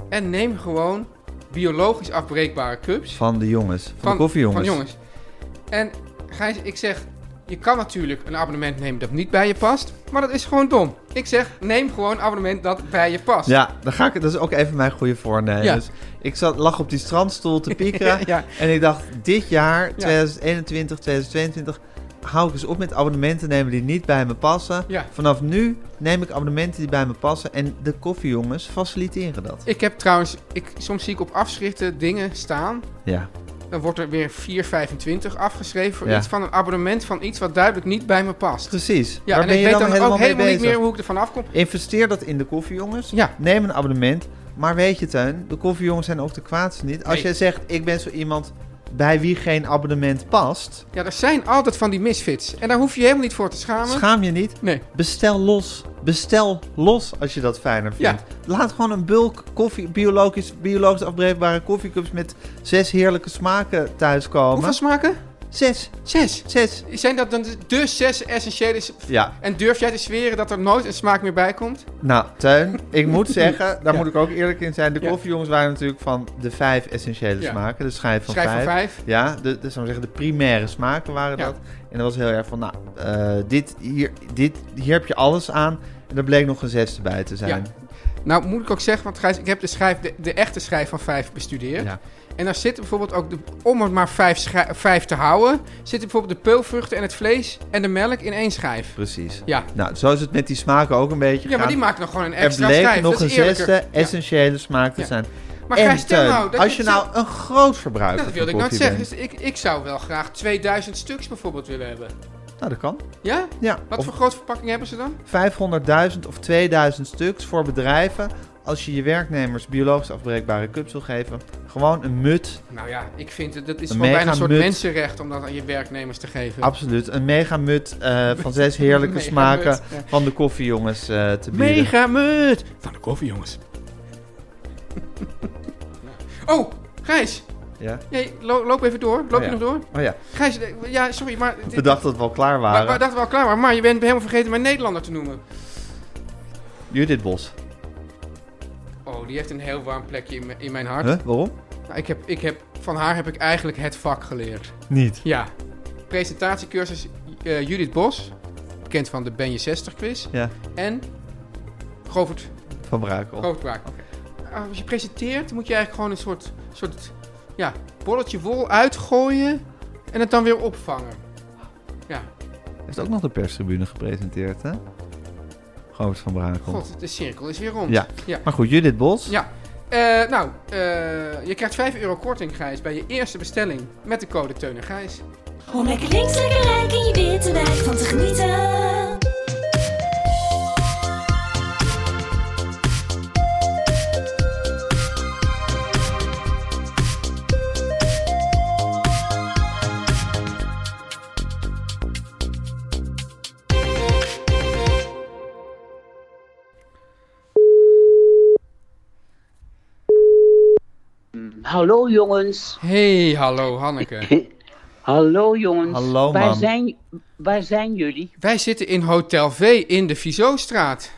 En neem gewoon biologisch afbreekbare cups.
Van de jongens. Van, de koffiejongens.
Van jongens. En Gijs, ik zeg, je kan natuurlijk een abonnement nemen dat niet bij je past, maar dat is gewoon dom. Ik zeg, neem gewoon een abonnement dat bij je past.
Ja, dan ga ik, dat is ook even mijn goede voornemens. Ik zat, lag op die strandstoel te piekeren.
Ja.
En ik dacht, dit jaar, 2021, 2022, hou ik eens op met abonnementen nemen die niet bij me passen.
Ja.
Vanaf nu neem ik abonnementen die bij me passen. En de koffiejongens faciliteren dat.
Ik heb trouwens, ik, soms zie ik op afschriften dingen staan.
Ja,
Dan wordt er weer 4,25 afgeschreven voor
Ja.
iets van een abonnement van iets wat duidelijk niet bij me past.
precies.
Ja,
Waar
en
ben
ik
je
weet
dan,
dan,
helemaal
ook
mee
helemaal niet
bezig?
meer hoe ik ervan afkom.
Investeer dat in de koffiejongens.
Ja.
Neem een abonnement. Maar weet je, Teun, de koffiejongens zijn ook de kwaadste niet. Als
Nee.
jij zegt, ik ben zo iemand bij wie geen abonnement past,
Ja, er zijn altijd van die misfits. En daar hoef je je helemaal niet voor te schamen.
schaam je niet.
nee.
Bestel los. Bestel los als je dat fijner vindt. Laat gewoon een bulk koffie, biologisch, biologisch afbreekbare koffiecups met zes heerlijke smaken thuiskomen.
Hoeveel smaken?
Zes.
Zes.
Zes.
Zijn dat dan de- de zes essentiële s-
Ja,
En durf jij te zweren dat er nooit een smaak meer bij komt?
nou, Teun, ik moet zeggen, daar
Ja.
moet ik ook eerlijk in zijn. De
Ja.
koffiejongens waren natuurlijk van de vijf essentiële
Ja.
smaken, de schijf van
Schrijf van
vijf.
vijf.
Ja, de, de, zou ik zeggen, de primaire smaken waren
Ja.
dat. En dat was heel erg van, nou, eh, dit, hier, dit, hier heb je alles aan. En er bleek nog een zesde bij te zijn.
Nou, moet ik ook zeggen, want Gijs, ik heb de, schijf, de, de echte schijf van vijf bestudeerd.
Ja.
En daar zitten bijvoorbeeld ook, de, om er maar vijf, schij- vijf te houden, zitten bijvoorbeeld de peulvruchten en het vlees en de melk in één schijf.
Precies.
Ja,
Nou, zo is het met die smaken ook een beetje
ja maar
gegaan.
die maken nog gewoon een
Er
extra
bleek
schijf.
nog
dat
een
is eerlijker.
zesde
Ja.
essentiële smaak te
Ja.
zijn.
Maar
en
Gijs, stel
Teun,
nou... Dat
als je
het zo-
nou een groot verbruiker
Dat wilde ik
van
nooit
koffie
zeggen.
bent.
Dus ik, ik zou wel graag 2000 stuks bijvoorbeeld willen hebben.
Nou, dat kan.
Ja?
Ja.
Wat
of
voor grote verpakking hebben ze dan?
500.000 of 2000 stuks voor bedrijven. Als je je werknemers biologisch afbreekbare cups wil geven. Gewoon een mut.
Nou ja, ik vind het, dat is
Een
gewoon bijna een soort
megamut.
mensenrecht om dat aan je werknemers te geven.
Absoluut. Een mega mut eh, van zes heerlijke
Mega
smaken
mut, ja.
van de koffiejongens eh, te bieden.
Mega mut! Van de koffie, jongens. oh, Gijs.
Ja.
Jij, lo- loop even door. Loop
Oh
je
ja.
nog door?
Oh ja,
Gijs, eh, ja, sorry, maar... dit-
bedacht dat we al klaar
maar-
waren.
maar dacht wel klaar, maar, maar je bent helemaal vergeten mijn Nederlander te noemen.
Judith Bos.
Oh, die heeft een heel warm plekje in, mijn- in mijn hart.
Huh? Waarom?
Nou, ik heb, ik heb, van haar heb ik eigenlijk het vak geleerd.
Niet.
Ja. Presentatiecursus eh, Judith Bos, bekend van de Ben je 60 quiz.
Ja,
En Govert
van Brakel.
Hoofdbraak. Ah, Als je presenteert, moet je eigenlijk gewoon een soort, soort ja, bolletje wol uitgooien en het dan weer opvangen. Ja,
Heeft ook nog de perstribune gepresenteerd, hè? Govert van Brakel.
god, de cirkel is weer rond.
Ja.
ja.
Maar goed, Judith Bos.
Ja. Eh, nou, eh, je krijgt 5 euro korting, Gijs, bij je eerste bestelling met de code Teun en Gijs.
Om lekker links, lekker rijk in je witte wijk van te genieten.
Hallo jongens.
Hey, hallo Hanneke.
Hallo jongens.
Hallo,
waar
mam.
zijn, waar zijn jullie?
Wij zitten in Hotel V in de Vizostraat.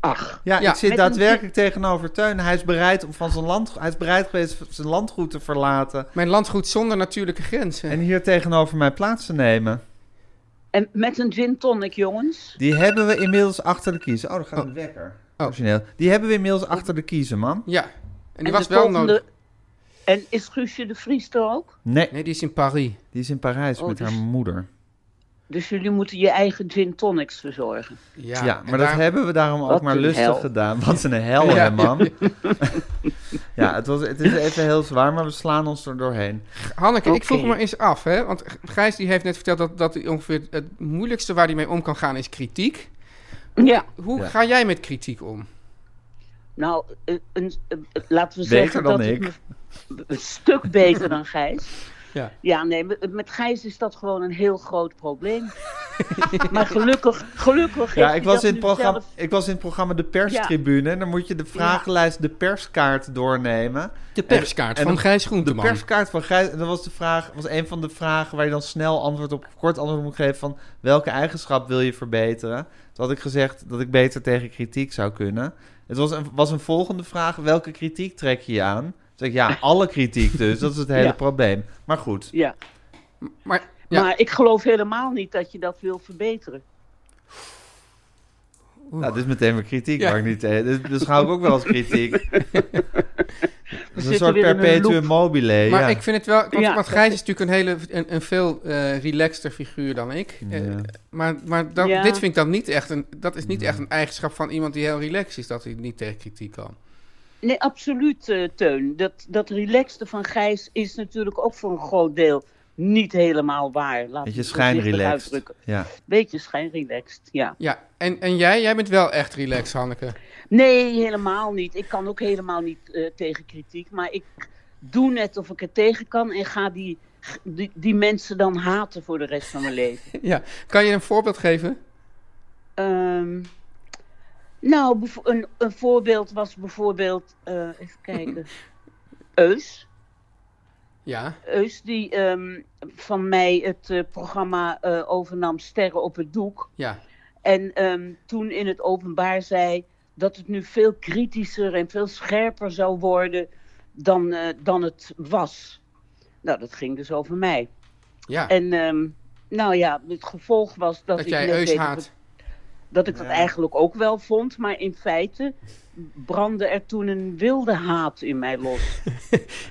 Ach,
Ja,
Ja.
ik zit
Met
daadwerkelijk tegenover Teun. Hij is bereid om van zijn land, hij is bereid geweest zijn landgoed te verlaten
Mijn landgoed zonder natuurlijke grenzen.
en hier tegenover mij plaats te nemen.
en met een gin tonic jongens?
Die hebben we inmiddels achter de kiezen. Oh, daar gaat een wekker. Origineel. Die hebben we inmiddels achter de kiezen, man.
Ja, en die
En
was
de
wel
volgende-
nodig.
En is Guusje de Vries er ook?
Nee,
Nee, die is in Paris.
die is in Parijs
Oh,
met
dus-
haar moeder.
Dus jullie moeten je eigen gin tonics verzorgen.
Ja,
Ja,
en
maar dat
daar-
hebben we daarom ook
Wat
maar
een
lustig
hel.
gedaan. Wat een hel,
Ja.
hè, man. ja, het, was, het is even heel zwaar, maar we slaan ons er doorheen.
Hanneke, ik vroeg
Oké.
me eens af, hè? Want Gijs die heeft net verteld dat, dat hij ongeveer het moeilijkste waar hij mee om kan gaan is kritiek.
Ja.
Hoe
Ja.
ga jij met kritiek om?
Nou, eh, een, eh, laten we
Beter
zeggen
dan
dat
ik.
me- een stuk beter dan Gijs.
Ja.
Ja, nee, met, met Gijs is dat gewoon een heel groot probleem. maar gelukkig, gelukkig heeft
Ja,
hij
ik was,
dat
in het
nu
programma,
zelf-
ik was in het programma De Perstribune. En dan moet je de vragenlijst De Perskaart doornemen.
De perskaart
en
van
de-
Gijs
De
Groenteman.
perskaart van Gijs, en dat was, de vraag, was een van de vragen waar je dan snel antwoord op, of kort antwoord op moet geven van welke eigenschap wil je verbeteren? Toen had ik gezegd dat ik beter tegen kritiek zou kunnen. Het was een, was een volgende vraag, welke kritiek trek je aan? Toen zei ik, ja, alle kritiek dus, dat is het hele
Ja.
probleem. Maar goed,
Ja.
Maar ja,
Maar ik geloof helemaal niet dat je dat wil verbeteren.
nou, dit is meteen weer kritiek,
Ja.
maar niet tegen. Dit beschouw ik ook wel als kritiek. Dat is een
zitten
soort
weer in een
perpetuum
loop.
mobile,
maar
ja.
ik vind het wel... Want,
Ja.
want Gijs is natuurlijk een, hele, een, een veel eh relaxter figuur dan ik. Eh,
Ja.
maar maar dat,
Ja.
dit vind ik dan niet echt een... Dat is niet echt een eigenschap van iemand die heel relaxed is, dat hij niet tegen kritiek kan.
Nee, absoluut, eh, Teun. Dat, dat relaxte van Gijs is natuurlijk ook voor een groot deel niet helemaal waar. Laat
Beetje
ik het voorzichtig
schijnrelaxed.
uitdrukken.
Ja.
Beetje schijnrelaxed, ja.
Ja, en, en jij? Jij bent wel echt relaxed, Hanneke.
Nee, helemaal niet. Ik kan ook helemaal niet eh, tegen kritiek. Maar ik doe net of ik er tegen kan en ga die, die, die mensen dan haten voor de rest van mijn leven.
Ja. Kan je een voorbeeld geven?
Ehm, nou, bevo- een, een voorbeeld was bijvoorbeeld, eh, even kijken, Eus.
Ja.
Eus die ehm, van mij het eh, programma eh, overnam Sterren op het Doek.
Ja.
En ehm, toen in het openbaar zei dat het nu veel kritischer en veel scherper zou worden dan, eh, dan het was. Nou, dat ging dus over mij.
Ja.
En ehm, nou ja, het gevolg was dat,
dat
ik
jij
net
Eus
deed
haat.
dat het- dat ik dat eigenlijk ook wel vond, maar in feite brandde er toen een wilde haat in mij los.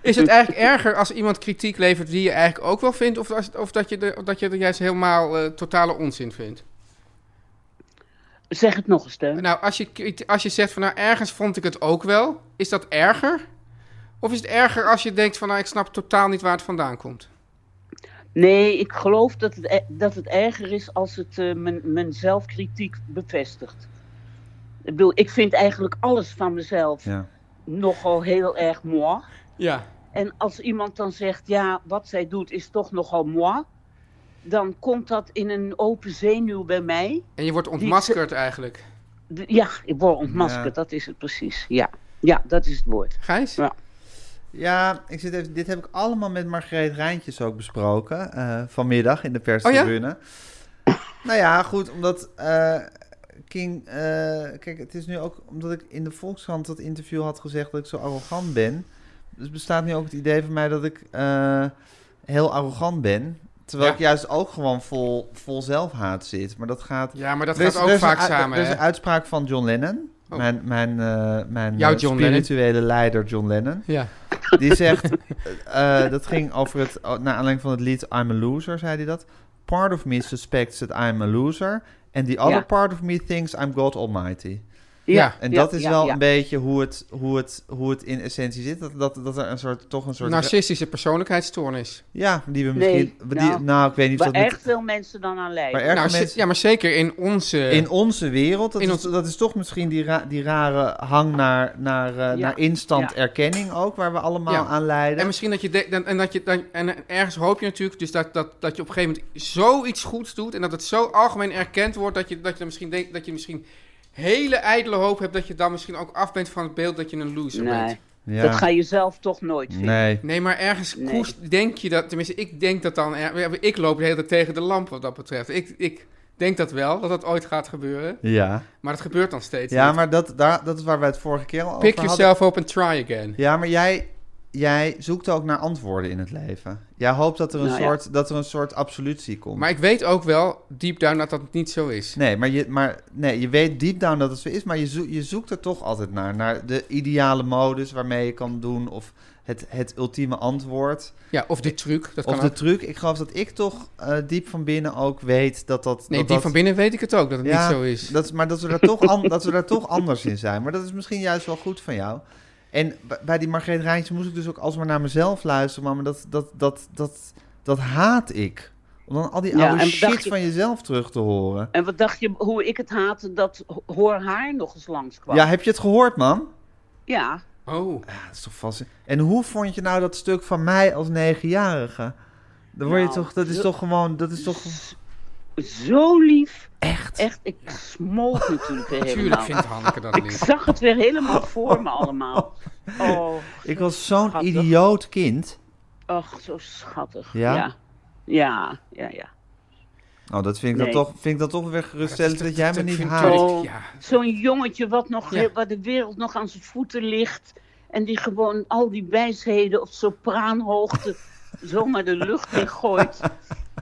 Is het eigenlijk erger als iemand kritiek levert die je eigenlijk ook wel vindt? Of, als, of dat, je de, of dat je er juist helemaal eh, totale onzin vindt?
Zeg het nog eens, Teun.
Nou, als je, kriti- als je zegt van nou ergens vond ik het ook wel, is dat erger? Of is het erger als je denkt van nou ik snap totaal niet waar het vandaan komt?
Nee, ik geloof dat het, e- dat het erger is als het eh, mijn, mijn zelfkritiek bevestigt. Ik bedoel, ik vind eigenlijk alles van mezelf
Ja.
nogal heel erg moi.
Ja.
En als iemand dan zegt, ja, wat zij doet is toch nogal moi, dan komt dat in een open zenuw bij mij.
En je wordt ontmaskerd eigenlijk.
D- Ja, ik word ontmaskerd,
Ja.
dat is het precies. Ja. ja, dat is het woord.
Gijs?
Nou,
Ja.
Ja, ik zit even, dit heb ik allemaal met Margreet Rijntjes ook besproken. eh, vanmiddag in de perstribune.
Oh
Nou ja, goed, omdat eh, King... eh, kijk, het is nu ook omdat ik in de Volkskrant dat interview had gezegd dat ik zo arrogant ben. Dus bestaat nu ook het idee van mij dat ik eh, heel arrogant ben. Terwijl
Ja.
ik juist ook gewoon vol, vol zelfhaat zit. Maar dat gaat...
Ja, maar dat
Er is-
gaat ook
er is een
vaak
u-
samen.
Er is
hè?
een uitspraak van John Lennon.
Oh.
Mijn, mijn, eh, mijn
Jouw
eh,
John Lennon.
spirituele leider John Lennon.
Ja.
Die zegt, eh, eh, dat ging over het, na naar aanleiding van het lied I'm a Loser, zei hij dat. Part of me suspects that I'm a loser. And the other
Ja.
part of me thinks I'm God Almighty.
Ja,
En
ja,
dat is
ja,
wel
ja.
een beetje hoe het, hoe, het, hoe het in essentie zit. Dat, dat, dat er een soort, toch een soort...
Narcistische persoonlijkheidsstoornis.
ja, die we
Nee,
misschien... die- nou,
nou,
ik weet niet of
Waar
dat... met-
erg veel mensen dan aan lijden.
waar erg
Nou,
veel
ze-
mensen-
Ja, maar zeker in onze...
in onze wereld, dat,
In
is,
ons-
dat is toch misschien die, ra- die rare hang naar, naar, eh, naar instant
ja.
erkenning ook, waar we allemaal
Ja.
aan lijden.
En misschien dat je denkt, en, en dat je dan, en ergens hoop je natuurlijk dus dat, dat, dat je op een gegeven moment zoiets goeds doet en dat het zo algemeen erkend wordt dat je, dat je dan misschien denkt dat je misschien hele ijdele hoop hebt dat je dan misschien ook af bent van het beeld dat je een loser
Nee.
bent.
Ja.
Dat ga je zelf toch nooit vinden.
Nee.
Nee, maar ergens
Nee.
koest, denk je dat... Tenminste, ik denk dat dan... er- Ik loop de hele tijd tegen de lamp wat dat betreft. Ik, ik denk dat wel, dat dat ooit gaat gebeuren.
Ja,
Maar het gebeurt dan steeds
ja
niet.
maar dat, daar, dat is waar we het vorige keer al over
Pick
hadden.
yourself up and try again.
Ja, maar jij, jij zoekt ook naar antwoorden in het leven. Jij hoopt dat er een,
Nou ja.
soort, dat er een soort absolutie komt.
Maar ik weet ook wel, deep down, dat dat niet zo is.
Nee, maar je, maar, nee, je weet deep down dat het zo is, maar je, zo- je zoekt er toch altijd naar. Naar de ideale modus waarmee je kan doen of het, het ultieme antwoord.
Ja, of de truc, dat
Of
kan
de
ook.
truc. Ik geloof dat ik toch eh, diep van binnen ook weet dat dat...
Nee,
dat
die
dat-
van binnen weet ik het ook, dat het niet zo is.
Dat, maar dat we, daar toch an- dat we daar toch anders in zijn. Maar dat is misschien juist wel goed van jou. En b- bij die Margreet Rijntje moest ik dus ook alsmaar naar mezelf luisteren. Maar dat, dat, dat, dat, dat haat ik. Om dan al die
Ja,
oude
en
shit
bedacht je-
van jezelf terug te horen.
En wat dacht je, hoe ik het haatte, dat ho- hoor haar nog eens langskwam.
Ja, heb je het gehoord, man?
ja.
Oh,
Ja, dat is toch vast... En hoe vond je nou dat stuk van mij als negenjarige? Dan word je
Nou,
toch... Dat is
zo-
toch gewoon... Dat is toch...
Z- Zo lief.
Echt?
Echt, ik smolt natuurlijk weer
natuurlijk
helemaal.
vindt
nou-
Hanneke dat
Ik
lief.
zag het weer helemaal voor me allemaal. Oh,
Ik was zo'n
Schattig.
idioot kind.
ach, zo schattig.
Ja?
Ja, ja, ja. ja.
Nou, dat vind ik,
Nee.
dat, toch, vind ik dat toch weer geruststellend dat, jij me
Dat
niet
vind
haat.
ik-
Oh.
Ja,
Zo'n jongetje wat nog,
Ja.
waar de wereld nog aan zijn voeten ligt. En die gewoon al die wijsheden op sopraanhoogte zomaar de lucht in gooit.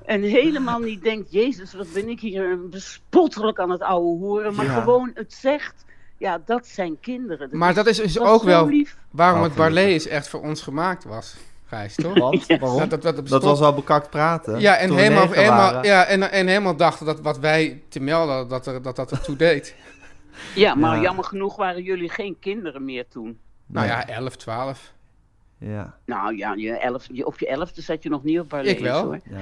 En helemaal niet denkt, jezus, wat ben ik hier bespottelijk aan het ouwe hoeren. Maar
Ja.
gewoon het zegt, ja, dat zijn kinderen. Dat
Maar
is-
dat is dus
dat
ook
zo
wel
lief.
waarom
Oh,
het ballet is echt voor ons gemaakt was, Gijs, toch?
Wat? Waarom?
Dat, dat, dat,
Dat
bestond-
was al bekakt praten.
Ja, en
toen we
helemaal,
negen
helemaal,
waren.
ja, en, en helemaal dachten dat wat wij te melden, hadden, dat er, dat, dat er toe deed.
Ja, maar
Ja.
jammer genoeg waren jullie geen kinderen meer toen.
Nou
Nee.
ja, 11, 12.
Ja,
Nou ja, je elf, je, op je elfde zat je nog niet op Barlees
Ik wel.
hoor.
ja.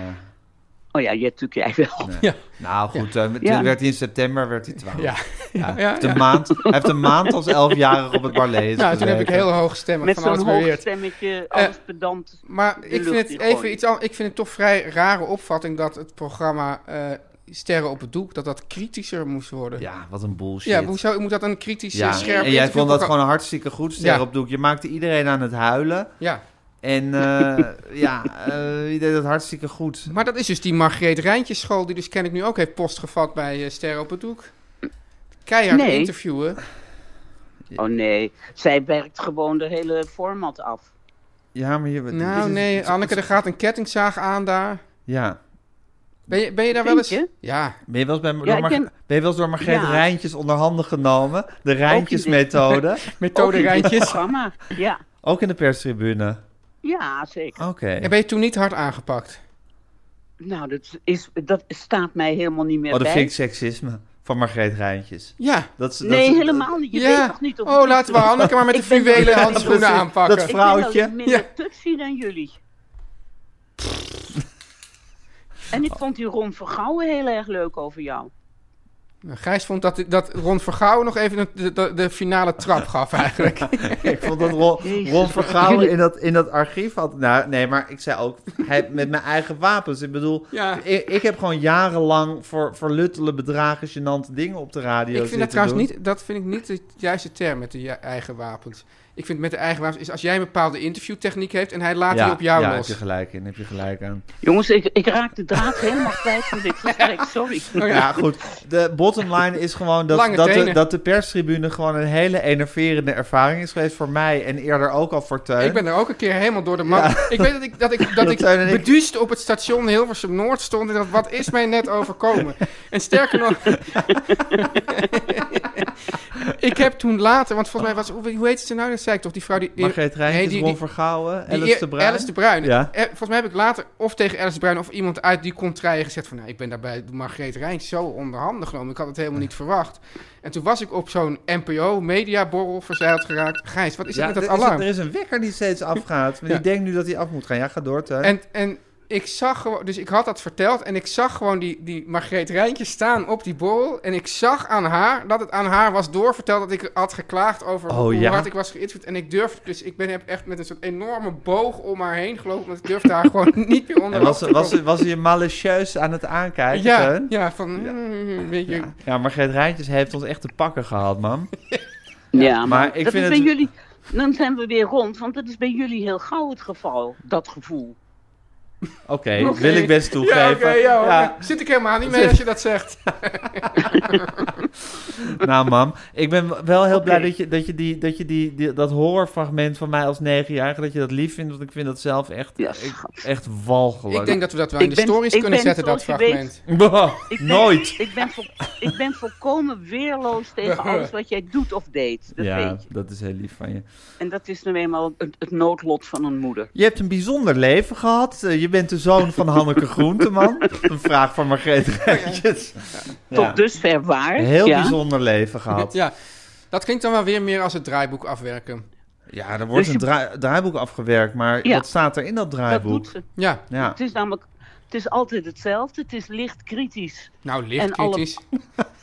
Oh ja, je, natuurlijk jij wel.
Nee.
Ja.
Nou goed, eh, toen
Ja.
werd hij in september werd hij 12.
Ja.
Ja.
ja,
Heeft Een maand, hij heeft een maand als 11-jarig op het ballet
Nou, toen heb ik
gezeten.
heel hoog stemmen
Met
van
zo'n
alles
hoog
beweerd. Eh,
stemmetje, alles pedant.
Maar
de
ik vind,
lucht
het
in
even
gooien.
iets an- ik vind het toch vrij rare opvatting dat het programma eh, Sterren op het Doek, dat dat kritischer moest worden. Ja,
Ja, wat een bullshit.
ja hoezo moet dat een kritisch,
Ja,
eh,
en jij
scherp
vond dat
interviewprogramma-
gewoon een hartstikke goed ster
Ja.
op doek. Je maakte iedereen aan het huilen.
Ja,
En eh, ja, eh, je deed dat hartstikke goed.
maar dat is dus die Margreet Rijntjes school, die dus ken ik nu ook heeft post gevat bij eh, Sterren op het Doek. Keihard
Nee.
interviewen.
Oh nee, zij werkt gewoon de hele format af.
Ja, maar je... dit
Nou
is-
nee, Anneke, er gaat een kettingzaag aan daar.
Ja.
Ben je, ben je daar wel
Denk
eens?
je?
Ja.
Ben je wel eens, bij, door,
ik
Mar-
ken-
ben je wel eens door Margreet
Ja.
Rijntjes onder handen genomen? De Rijntjesmethode.
Ook
Methode
in dit
Rijntjes.
programma, ja.
Ook in de perstribune.
Ja, zeker.
Oké.
En ben je toen niet hard aangepakt?
Nou, dat, is, dat staat mij helemaal niet meer
Oh, dat
bij.
vind ik seksisme van Margreet Rijntjes.
Ja.
Dat, is- dat,
Nee,
is-
helemaal niet. Je
ja.
weet toch niet of
Oh, laten we Anneke maar met de
Ik ben-
fluwelen
Ja,
handschoenen
precies.
aanpakken.
Dat
Ik ben wel
vrouwtje.
eens minder tutsi dan jullie. En ik vond die Ron Vergouwen heel erg leuk over jou.
Nou, Gijs vond dat, dat Ron Vergouwen nog even de, de, de finale trap gaf eigenlijk.
Ik vond dat Ron,
Jezus.
Ron Vergouwen in dat, in dat archief had... Nou, nee, maar ik zei ook hij, met mijn eigen wapens. Ik bedoel,
Ja.
ik, ik heb gewoon jarenlang voor, voor luttele bedragen gênante dingen op de radio
ik vind
zitten
dat trouwens
doen.
niet, dat vind ik niet de juiste term met de ju- eigen wapens. Ik vind met de eigen wapens is als jij een bepaalde interviewtechniek heeft en hij laat die op jou
ja,
los.
heb je gelijk in, heb je gelijk aan.
Jongens, ik, ik raak de draad helemaal kwijt van dit gesprek, sorry.
Oh
Ja, goed. De bottom line is gewoon dat,
Lange
dat, de,
tenen.
dat de perstribune gewoon een hele enerverende ervaring is geweest voor mij en eerder ook al voor Teun.
Ik ben er ook een keer helemaal door de man. Ik weet dat ik, dat ik, dat ik
Teun en ik-
beduusd op het station Hilversum Noord stond en dacht, wat is mij net overkomen? En sterker nog, ik heb toen later, want volgens mij was, hoe, hoe heet ze nou? Dat zei ik toch, die vrouw die...
Margreet Rijntjes,
Nee, die-
Ron
die-
Vergouwen,
die-
eh, Alice de Bruin.
Alice de Bruin.
Ja.
Eh, volgens mij heb ik later of tegen Alice de Bruin of iemand uit die contraille gezegd van... Nou, ik ben daarbij Margreet Rijntjes zo onderhanden genomen. Ik had het helemaal niet verwacht. En toen was ik op zo'n NPO-mediaborrel verzeild geraakt. Gijs, wat is
Ja,
er
er,
met
is,
dat alarm?
er is een wekker die steeds afgaat, maar
Ja.
die denkt nu dat hij af moet gaan. Ja, ga door, Teun.
En, en ik zag gewoon, dus ik had dat verteld en ik zag gewoon die, die Margreet Rijntjes staan op die borrel. En ik zag aan haar dat het aan haar was doorverteld dat ik had geklaagd over
Oh,
hoe
ja?
hard ik was geïnterviewd. En ik durfde, dus ik ben, heb echt met een soort enorme boog om haar heen gelopen, want ik durfde haar gewoon niet meer onder
En was,
te
was,
komen.
was hij je malicieus aan het aankijken,
ja,
Teun?
ja, van mm, weet je.
Ja, Margreet Rijntjes heeft ons echt te pakken gehad, man.
Ja, maar,
maar ik
dat
vind
is
het-
bij jullie Dan zijn we weer rond, want dat is bij jullie heel gauw het geval, dat gevoel.
Oké, wil ik best toegeven.
oké, ja, hoor. Zit ik helemaal niet mee als je dat zegt.
Nou, mam, ik ben wel heel
Oké.
blij dat je, dat je, die, dat, je die, die- dat horrorfragment van mij als negenjarige, dat je dat lief vindt, want ik vind dat zelf echt,
Ja,
ik-
schat.
echt walgelijk.
Ik denk dat we dat wel
Ik
in de
ben-
stories
ik
kunnen
ben,
zetten, dat
zoals je weet,
fragment.
Bah,
Ik ben,
nooit!
Ik ben, vo- ik ben volkomen weerloos tegen alles wat jij doet of deed. Dat
Ja,
weet je.
dat is heel lief van je.
En dat is nu eenmaal het, het noodlot van een moeder.
Je hebt een bijzonder leven gehad. Eh, Je bent de zoon van Hanneke Groenteman. Een vraag van Margreet Rijntjes. Ja.
Tot dusver waar.
Een heel
dus. ja.
bijzonder leven gehad.
Ja, dat klinkt dan wel weer meer als het draaiboek afwerken.
Ja, er wordt
Dus je-
een draai- draaiboek afgewerkt, maar
Ja.
wat staat er in dat
Dat
draaiboek?
doet ze.
Ja,
Ja.
Het is namelijk het is altijd hetzelfde. Het is licht kritisch.
nou licht
En alle-
kritisch.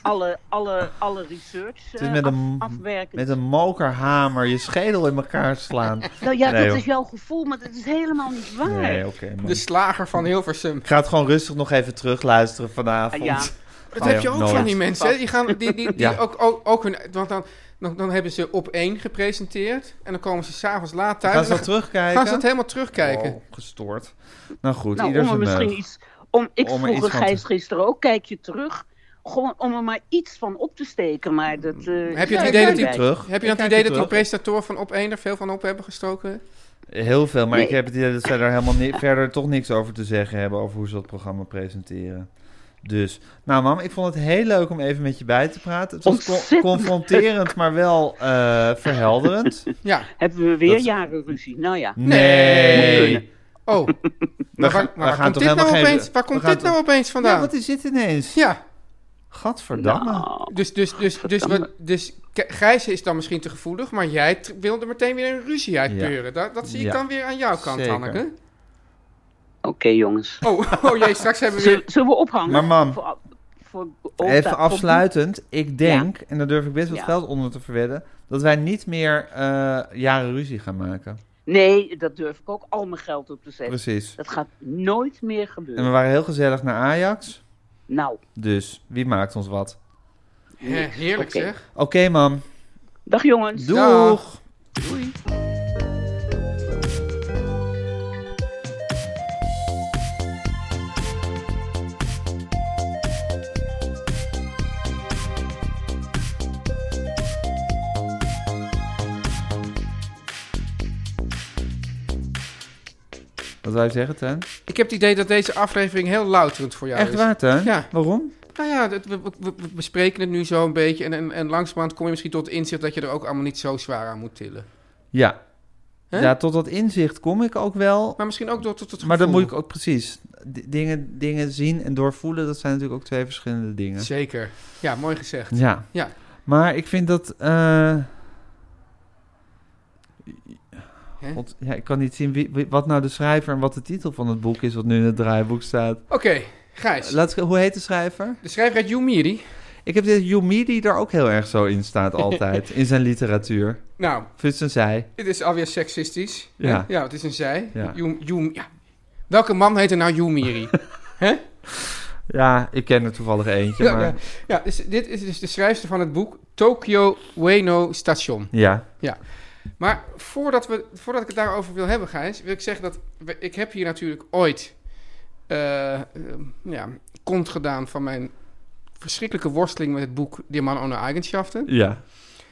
Alle, alle, alle research
is
eh,
met
af-
een-
afwerken.
Met een mokerhamer je schedel in elkaar slaan.
Nou ja,
Nee,
dat
joh.
is jouw gevoel, maar dat is helemaal niet waar.
Nee, oké. man.
Dus-
De slager van Hilversum.
Ik ga het gewoon rustig nog even terugluisteren vanavond.
Ja.
Dat
Oh,
heb
ja,
je ook
nooit.
van die mensen. hè? Die gaan die, die, die
Ja.
ook, ook, ook hun. Want dan, dan, dan hebben ze op één gepresenteerd. En dan komen ze s'avonds laat thuis.
Gaan ze
en
dat
dan
terugkijken?
gaan ze dat helemaal terugkijken.
Oh, gestoord. Nou goed,
Nou,
ieder
om er
zijn
misschien
meug.
iets. Om, ik
Om er
vroeg
iets
er
van te-
Gijs gisteren ook, kijk je terug. Gewoon om er maar iets van op te steken. Maar dat, eh,
Heb je het
ja,
Ik
idee
kijk
dat
ik ben
die-
hier
bij.
terug?
Heb je
Ik
dan het
kijk
idee
hier
dat die
terug.
presentatoren van op één er veel van op hebben gestoken?
Heel veel, maar
Nee.
ik heb het idee dat zij daar helemaal ni- verder toch niks over te zeggen hebben... over hoe ze dat programma presenteren. Dus, nou mam, ik vond het heel leuk om even met je bij te praten. Het was co-
Ontzettend
confronterend, maar wel eh, verhelderend.
Ja.
Hebben we weer
Dat-
jaren ruzie? Nou ja.
Nee.
Oh. Maar waar, maar
we
waar
gaan
komt
toch
dit nou
helemaal geen-
opeens, waar
we
komt
gaan
dit nou opeens
Ja,
vandaan?
wat is dit ineens?
Ja.
Gadverdamme.
Nou,
Dus, dus, dus, dus, wat, dus K- Gijs is dan misschien te gevoelig, maar jij t- wilde meteen weer een ruzie uitpeuren. Dat, dat zie ik
Ja.
dan weer aan jouw kant,
Zeker.
Hanneke.
Oké, jongens.
Oh, oh jee, straks hebben we weer...
Zullen, zullen we ophangen?
Maar mam,
Voor- voor-
Even
op-
afsluitend, ik denk, en daar durf ik best wat
Ja.
geld onder te verwedden, dat wij niet meer eh, jaren ruzie gaan maken.
Nee, dat durf ik ook al mijn geld op te zetten.
Precies.
Dat gaat nooit meer
En we
gebeuren.
waren heel gezellig naar Ajax,
Nou,
dus wie maakt ons wat?
He- heerlijk
Oké.
zeg.
Oké, mam.
dag jongens.
Doeg!
Dag.
Wat wij zeggen, Ten?
Ik heb het idee dat deze aflevering heel louterend voor jou
Echt
is.
waar, Ten?
dus- Ja.
Waarom?
Nou ja, dat- we, we- we bespreken het nu zo een beetje. En, en, en langzamerhand kom je misschien tot het inzicht dat je er ook allemaal niet zo zwaar aan moet tillen.
Ja.
Hè?
Ja, tot dat inzicht kom ik ook wel.
Maar misschien ook door tot het
Maar dan
gevoel.
moet ik ook precies. D- dingen, dingen zien en doorvoelen, dat zijn natuurlijk ook twee verschillende dingen.
Zeker. Ja, mooi gezegd.
Ja.
Ja.
Maar ik vind dat. eh,
Hè?
God, ja, ik kan niet zien wie, wie- wat nou de schrijver en wat de titel van het boek is, wat nu in het draaiboek staat.
Oké, Gijs.
Laat, ik- hoe heet de schrijver?
De schrijver uit Jumiri.
Ik heb dit Yumi die er ook heel erg zo in staat, altijd. in zijn literatuur.
Nou,
Futs en zij.
dit is alweer seksistisch.
Ja.
Ja, het is een zij.
Ja.
Yum- Yum- ja. Welke man heet er nou Jumiri?
Ja, ik ken er toevallig eentje.
ja,
maar,
ja.
ja.
ja dus, dit is dus de schrijfster van het boek Tokyo Ueno Station. Maar voordat, we, voordat ik het daarover wil hebben, Gijs, wil ik zeggen dat we- ik heb hier natuurlijk ooit eh, eh, ja, kont gedaan van mijn verschrikkelijke worsteling met het boek Die Man ohne Eigenschaften.
ja.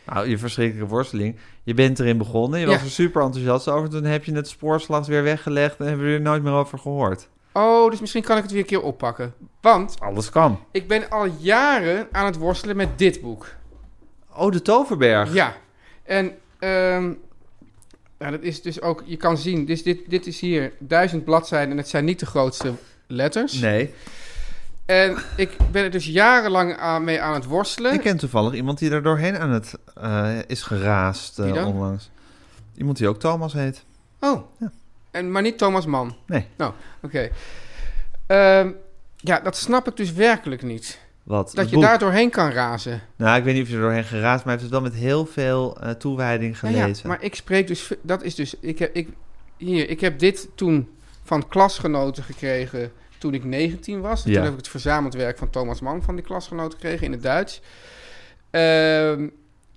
Nou, je verschrikkelijke worsteling. Je bent erin begonnen, je
Ja.
was er super enthousiast over. Toen heb je het spoorslags weer weggelegd en hebben we er nooit meer over gehoord.
Oh, dus misschien kan ik het weer een keer oppakken. Want
Alles kan.
ik ben al jaren aan het worstelen met dit boek.
Oh, de Toverberg.
Ja, en ehm, ja, dat is dus ook, je kan zien, dus dit, dit is hier duizend bladzijden en het zijn niet de grootste letters.
Nee.
En ik ben er dus jarenlang aan, mee aan het worstelen.
Ik ken toevallig iemand die daar doorheen aan het eh, is geraasd eh,
Wie dan?
onlangs. Iemand die ook Thomas heet.
Oh,
Ja.
en, maar niet Thomas Mann.
Nee.
Nou, oké. Ehm, ja, dat snap ik dus werkelijk niet.
Wat? Het
Dat je
boek.
daar doorheen kan razen.
Nou, ik weet niet of je er doorheen geraasd, maar hij heeft het wel met heel veel eh, toewijding
Ja, ja,
gelezen.
maar ik spreek dus, ve- dat is dus, ik heb, ik, hier, ik heb dit toen van klasgenoten gekregen toen ik 19 was. En
Ja.
Toen heb ik het verzameld werk van Thomas Mann van die klasgenoten gekregen in het Duits. Ehm,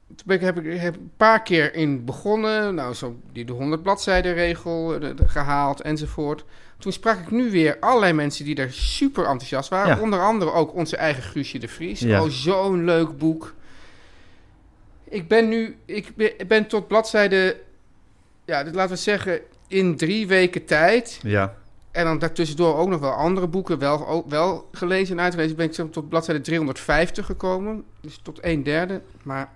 Toen ben ik, heb ik heb een paar keer in begonnen. Nou, zo die de 100 bladzijden regel eh, de- de- gehaald enzovoort. Toen sprak ik nu weer allerlei mensen die daar super enthousiast waren.
Ja.
Onder andere ook onze eigen Guusje de Vries.
Ja.
Oh, zo'n leuk boek. Ik ben nu, ik ben, ik ben tot bladzijde, ja, dit laten we zeggen, in drie weken tijd.
Ja.
En dan daartussendoor ook nog wel andere boeken, wel, ook wel gelezen en uitgelezen. Ben ik zo tot bladzijde 350 gekomen. Dus tot een derde. Maar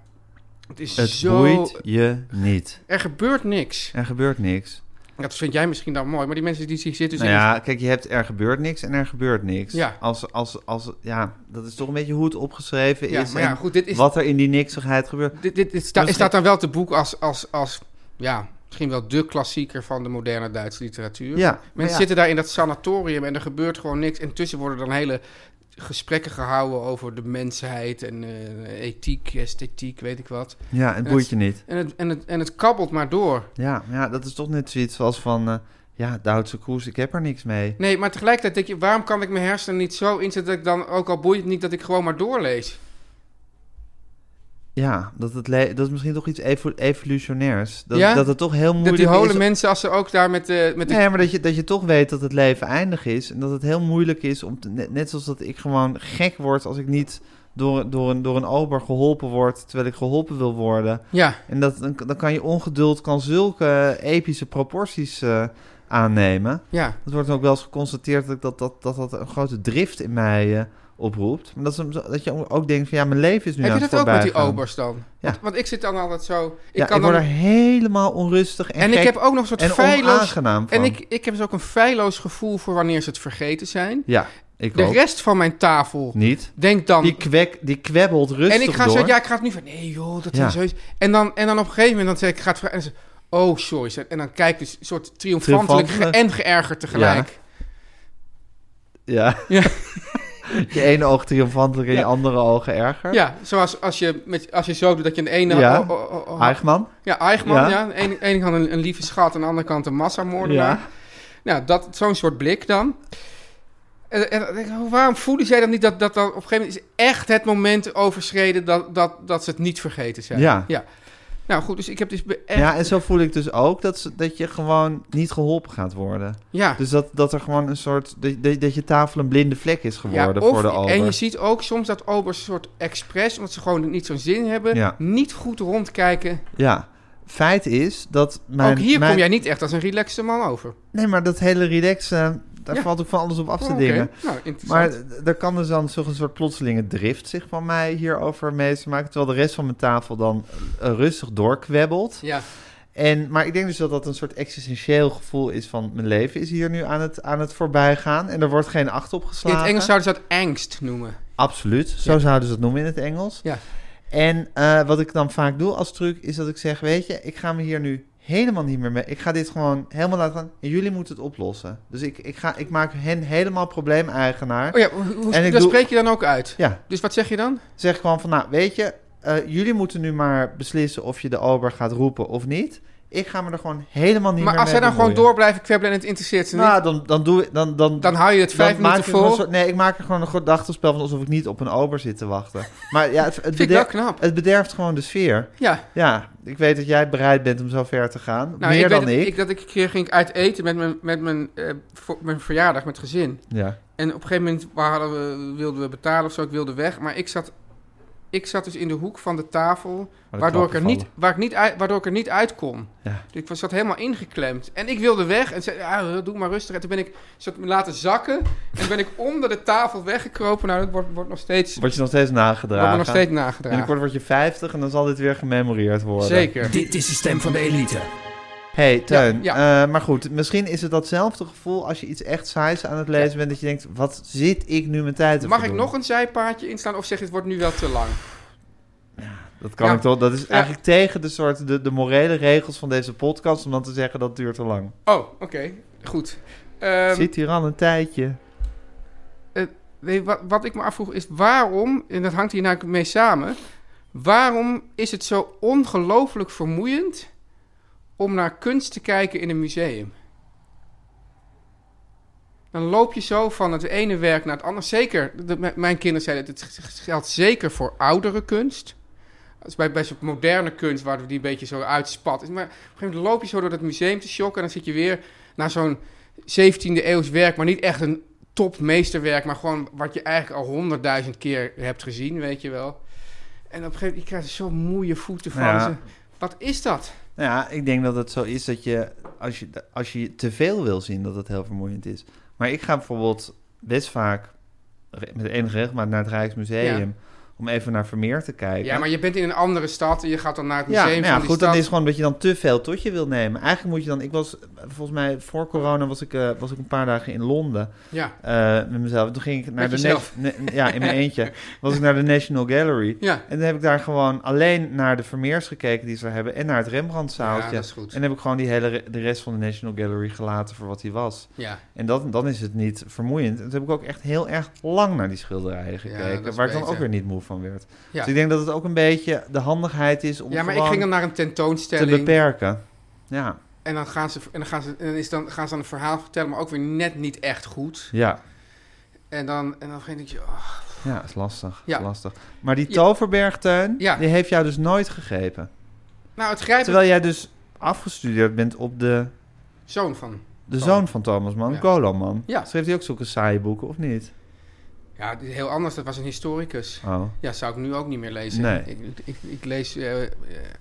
het is
Het
zo.
boeit je niet.
Er gebeurt niks.
Er gebeurt niks.
Dat vind jij misschien dan mooi, maar die mensen die zich zitten.
Nou
zitten-
ja, kijk, je hebt er gebeurt niks en er gebeurt niks.
Dus Ja.
Als, als, als, ja, dat is toch een beetje hoe het opgeschreven
Ja,
is.
maar ja,
en
goed, dit is-
Wat er in die niksigheid gebeurt.
Dit, dit, dit sta-
Misschien-
staat dan wel te boek als, als, als. Ja, misschien wel de klassieker van de moderne Duitse literatuur.
Ja, maar
Mensen
ja.
zitten daar in dat sanatorium en er gebeurt gewoon niks. En tussen worden dan hele gesprekken gehouden over de mensheid en eh, ethiek, esthetiek, weet ik wat.
Ja, het
En
boeit je niet.
En het, en, het, en het kabbelt maar door.
Ja, maar ja, dat is toch net zoiets als van... eh, ja, Duitse koers, ik heb er niks mee.
Nee, maar tegelijkertijd denk je, waarom kan ik mijn hersenen niet zo inzetten dat ik dan, ook al boeit het niet, dat ik gewoon maar doorlees?
Ja, dat, het le- dat is misschien toch iets evo- evolutionairs. Dat,
Ja?
dat het toch heel moeilijk
Dat die
is...
holen mensen, als ze ook daar met de... Met de
Nee, maar dat je, dat je toch weet dat het leven eindig is. En dat het heel moeilijk is om... te- net, net zoals dat ik gewoon gek word als ik niet door, door, een, door een ober geholpen word... terwijl ik geholpen wil worden.
Ja,
En dat, dan, dan kan je ongeduld kan zulke epische proporties eh, aannemen.
ja.
Het wordt ook wel eens geconstateerd dat ik dat, dat, dat, dat een grote drift in mij eh, oproept. Maar dat, is, hem zo- dat je ook denkt van ja, mijn leven is nu
Heb
aan
je
het
dat ook met die
voorbijgaan.
obers dan?
Ja.
Want, want ik zit dan altijd zo... Ik
ja,
kan
ik word
dan,
er helemaal onrustig en,
en ik
gek
heb ook nog een soort
en
feilloos...
onaangenaam van.
En ik, ik heb dus ook een feilloos gevoel voor wanneer ze het vergeten zijn.
Ja, ik
De
ook.
rest van mijn tafel
Niet.
denkt dan...
Die, kwek, die kwebbelt rustig
en ik ga
door.
zo, ja, ik ga het nu van, nee joh, dat
Ja.
is heus. En dan, en dan op een gegeven moment, dan zeg ik, ik ga het vragen. En ze, oh, sorry. ze- En dan kijk dus een soort triomfantelijk ge-
Triomfantelijk.
en geërgerd tegelijk.
Ja.
Ja.
je ene oog triomfantelijk en je
Ja.
andere oog
Ja,
erger.
zoals als je, met, als je zo doet dat je aan de ene...
Ja.
oh, oh, oh, oh,
Eichmann.
ja, Eichmann,
Ja.
ja. Aan de ene, ene kant een, een lieve schat, aan de andere kant een massamoordenaar.
Ja.
Nou, dat, zo'n soort blik dan. En, en dan denk ik, oh, waarom voelen zij dan niet dat, dat dan op een gegeven moment is echt het moment overschreden dat, dat, dat ze het niet vergeten zijn?
Ja.
ja. Nou goed, dus ik heb dus be- echt...
ja, en zo voel ik dus ook dat, ze- dat je gewoon niet geholpen gaat worden.
ja.
Dus dat, dat er gewoon een soort... Dat, dat, dat je tafel een blinde vlek is geworden
of-
voor de ober.
En je ziet ook soms dat obers een soort expres, omdat ze gewoon niet zo'n zin hebben,
Ja.
niet goed rondkijken.
Ja. Feit is dat mijn...
ook hier
mijn-
kom jij niet echt als een relaxte man over.
Nee, maar dat hele relaxen... Daar
Ja.
valt ook van alles op af te
Oh, oké.
dingen.
Nou,
Maar
interessant.
d- er kan dus dan zo'n soort plotselinge drift zich van mij hierover meester maken. Terwijl de rest van mijn tafel dan eh, rustig doorkwebbelt.
ja.
En, maar ik denk dus dat dat een soort existentieel gevoel is van... mijn leven is hier nu aan het, aan het voorbijgaan. En er wordt geen acht op
In
geslagen.
het Engels zouden ze dat angst noemen.
Absoluut. Zo
Ja.
zouden ze het noemen in het Engels.
Ja.
En eh, wat ik dan vaak doe als truc is dat ik zeg... weet je, ik ga me hier nu helemaal niet meer mee... ik ga dit gewoon helemaal laten gaan... en jullie moeten het oplossen. Dus ik, ik, ga, ik maak hen helemaal probleemeigenaar.
Oh ja, hoe, hoe-
En ik
dat
doe-
spreek je dan ook uit.
Ja,
Dus wat zeg je dan?
zeg gewoon van, nou, weet je, eh, jullie moeten nu maar beslissen of je de ober gaat roepen of niet. Ik ga me er gewoon helemaal niet
maar
meer
als zij
mee
dan gewoon
bemoeien.
door blijven kwebbelen en het interesseert ze niet,
Nou, dan, dan doe ik... Dan, dan,
dan hou je het vijf
maak
minuten
ik er een
vol.
soort- nee, ik maak er gewoon een gedachtenspel van alsof ik niet op een ober zit te wachten. Maar ja, het, het,
Vind ik wel
bederft,
knap.
het bederft gewoon de sfeer.
Ja,
Ja, ik weet dat jij bereid bent om zo ver te gaan.
nou,
Meer
ik weet
dan
dat
ik.
ik. Dat ik een keer ging uit eten met mijn, met mijn, eh, voor- mijn verjaardag, met het gezin.
Ja.
En op een gegeven moment waren we, wilden we betalen of zo, ik wilde weg. Maar ik zat, ik zat dus in de hoek van de tafel,
de
waardoor ik, er
klappen
niet, waar ik niet uit, waardoor ik er niet uit kon.
Ja.
Dus ik was, zat helemaal ingeklemd. En ik wilde weg en zei, ah, doe maar rustig. En toen ben ik zat me laten zakken en ben ik onder de tafel weggekropen. Nou, dat wordt, wordt nog steeds, wordt
Word je nog steeds nagedragen.
me nog steeds nagedragen.
Binnenkort word je 50 en dan zal dit weer gememoreerd worden.
Zeker.
Dit is de stem van de elite.
hey, Teun.
Ja,
eh, maar goed, misschien is het datzelfde gevoel als je iets echt saais aan het lezen bent. Dat je denkt, wat zit ik nu mijn tijd te
Mag ik
verdoen?
nog een zijpaadje inslaan of zeg je, het wordt nu wel te lang?
Dat kan
Ja.
ik toch? Dat is eigenlijk tegen de, soort, de, de morele regels van deze podcast om dan te zeggen dat duurt te lang.
Oh, oké. Goed. Ehm,
zit hier al een tijdje.
Nee, wat, wat ik me afvroeg is waarom, en dat hangt hier natuurlijk mee samen, waarom is het zo ongelooflijk vermoeiend om naar kunst te kijken in een museum? Dan loop je zo van het ene werk naar het andere. Zeker, de- m- mijn kinderen zeiden, het, het geldt zeker voor oudere kunst. Dat is bij, bij zo'n moderne kunst waar die een beetje zo uitspat. Maar op een gegeven moment loop je zo door dat museum te shocken. En dan zit je weer naar zo'n 17e eeuws werk. Maar niet echt een topmeesterwerk. Maar gewoon wat je eigenlijk al honderdduizend keer hebt gezien, weet je wel. En op een gegeven moment je krijgt er zo moeie voeten van.
Ja.
Ze- Wat is dat?
Nou ja, ik denk dat het zo is dat je als je, als je te veel wil zien, dat het heel vermoeiend is. Maar ik ga bijvoorbeeld best vaak re- met enige regelmaat naar het Rijksmuseum om even naar Vermeer te kijken.
Ja, maar je bent in een andere stad en je gaat dan naar het
Ja,
museum
nou ja,
van die
goed,
stad.
dan is gewoon dat je dan te veel tot je wil nemen. Eigenlijk moet je dan, ik was eh, volgens mij voor corona was ik, eh, was ik een paar dagen in Londen
Ja,
eh, met mezelf. Toen ging ik naar
Met
de
jezelf?
na- na- ja, in mijn eentje was ik naar de National Gallery.
ja.
En dan heb ik daar gewoon alleen naar de Vermeers gekeken die ze daar hebben en naar het Rembrandtzaaltje.
Ja, dat is goed.
En heb ik gewoon die hele re- de rest van de National Gallery gelaten voor wat hij was.
Ja,
En dat, dan is het niet vermoeiend. En toen heb ik ook echt heel erg lang naar die schilderijen gekeken,
dat is
waar ik dan
beter.
ook weer niet moe van werd.
Ja.
Dus ik denk dat het ook een beetje de handigheid is om
ja maar ik
gewoon
ging dan naar een
te
tentoonstelling.
beperken. Ja,
En dan gaan ze, en dan gaan ze, en dan is dan, gaan ze dan een verhaal vertellen, maar ook weer net niet echt goed.
ja,
En dan, en dan denk je, oh,
ja, is lastig.
Ja.
Is lastig. Maar die
Ja.
toverbergtuin,
Ja.
die heeft jou dus nooit gegrepen.
nou het grijpt
Terwijl jij dus afgestudeerd bent op de
zoon van.
De
Zoon.
zoon van Thomas Mann,
Oh. Ja.
Golo Mann.
Ja.
Schreef hij ook zulke saaie boeken, of niet?
Ja, dit is heel anders, dat was een historicus.
Oh,
Ja, zou ik nu ook niet meer lezen.
Nee.
Ik, ik, ik lees eh, eh,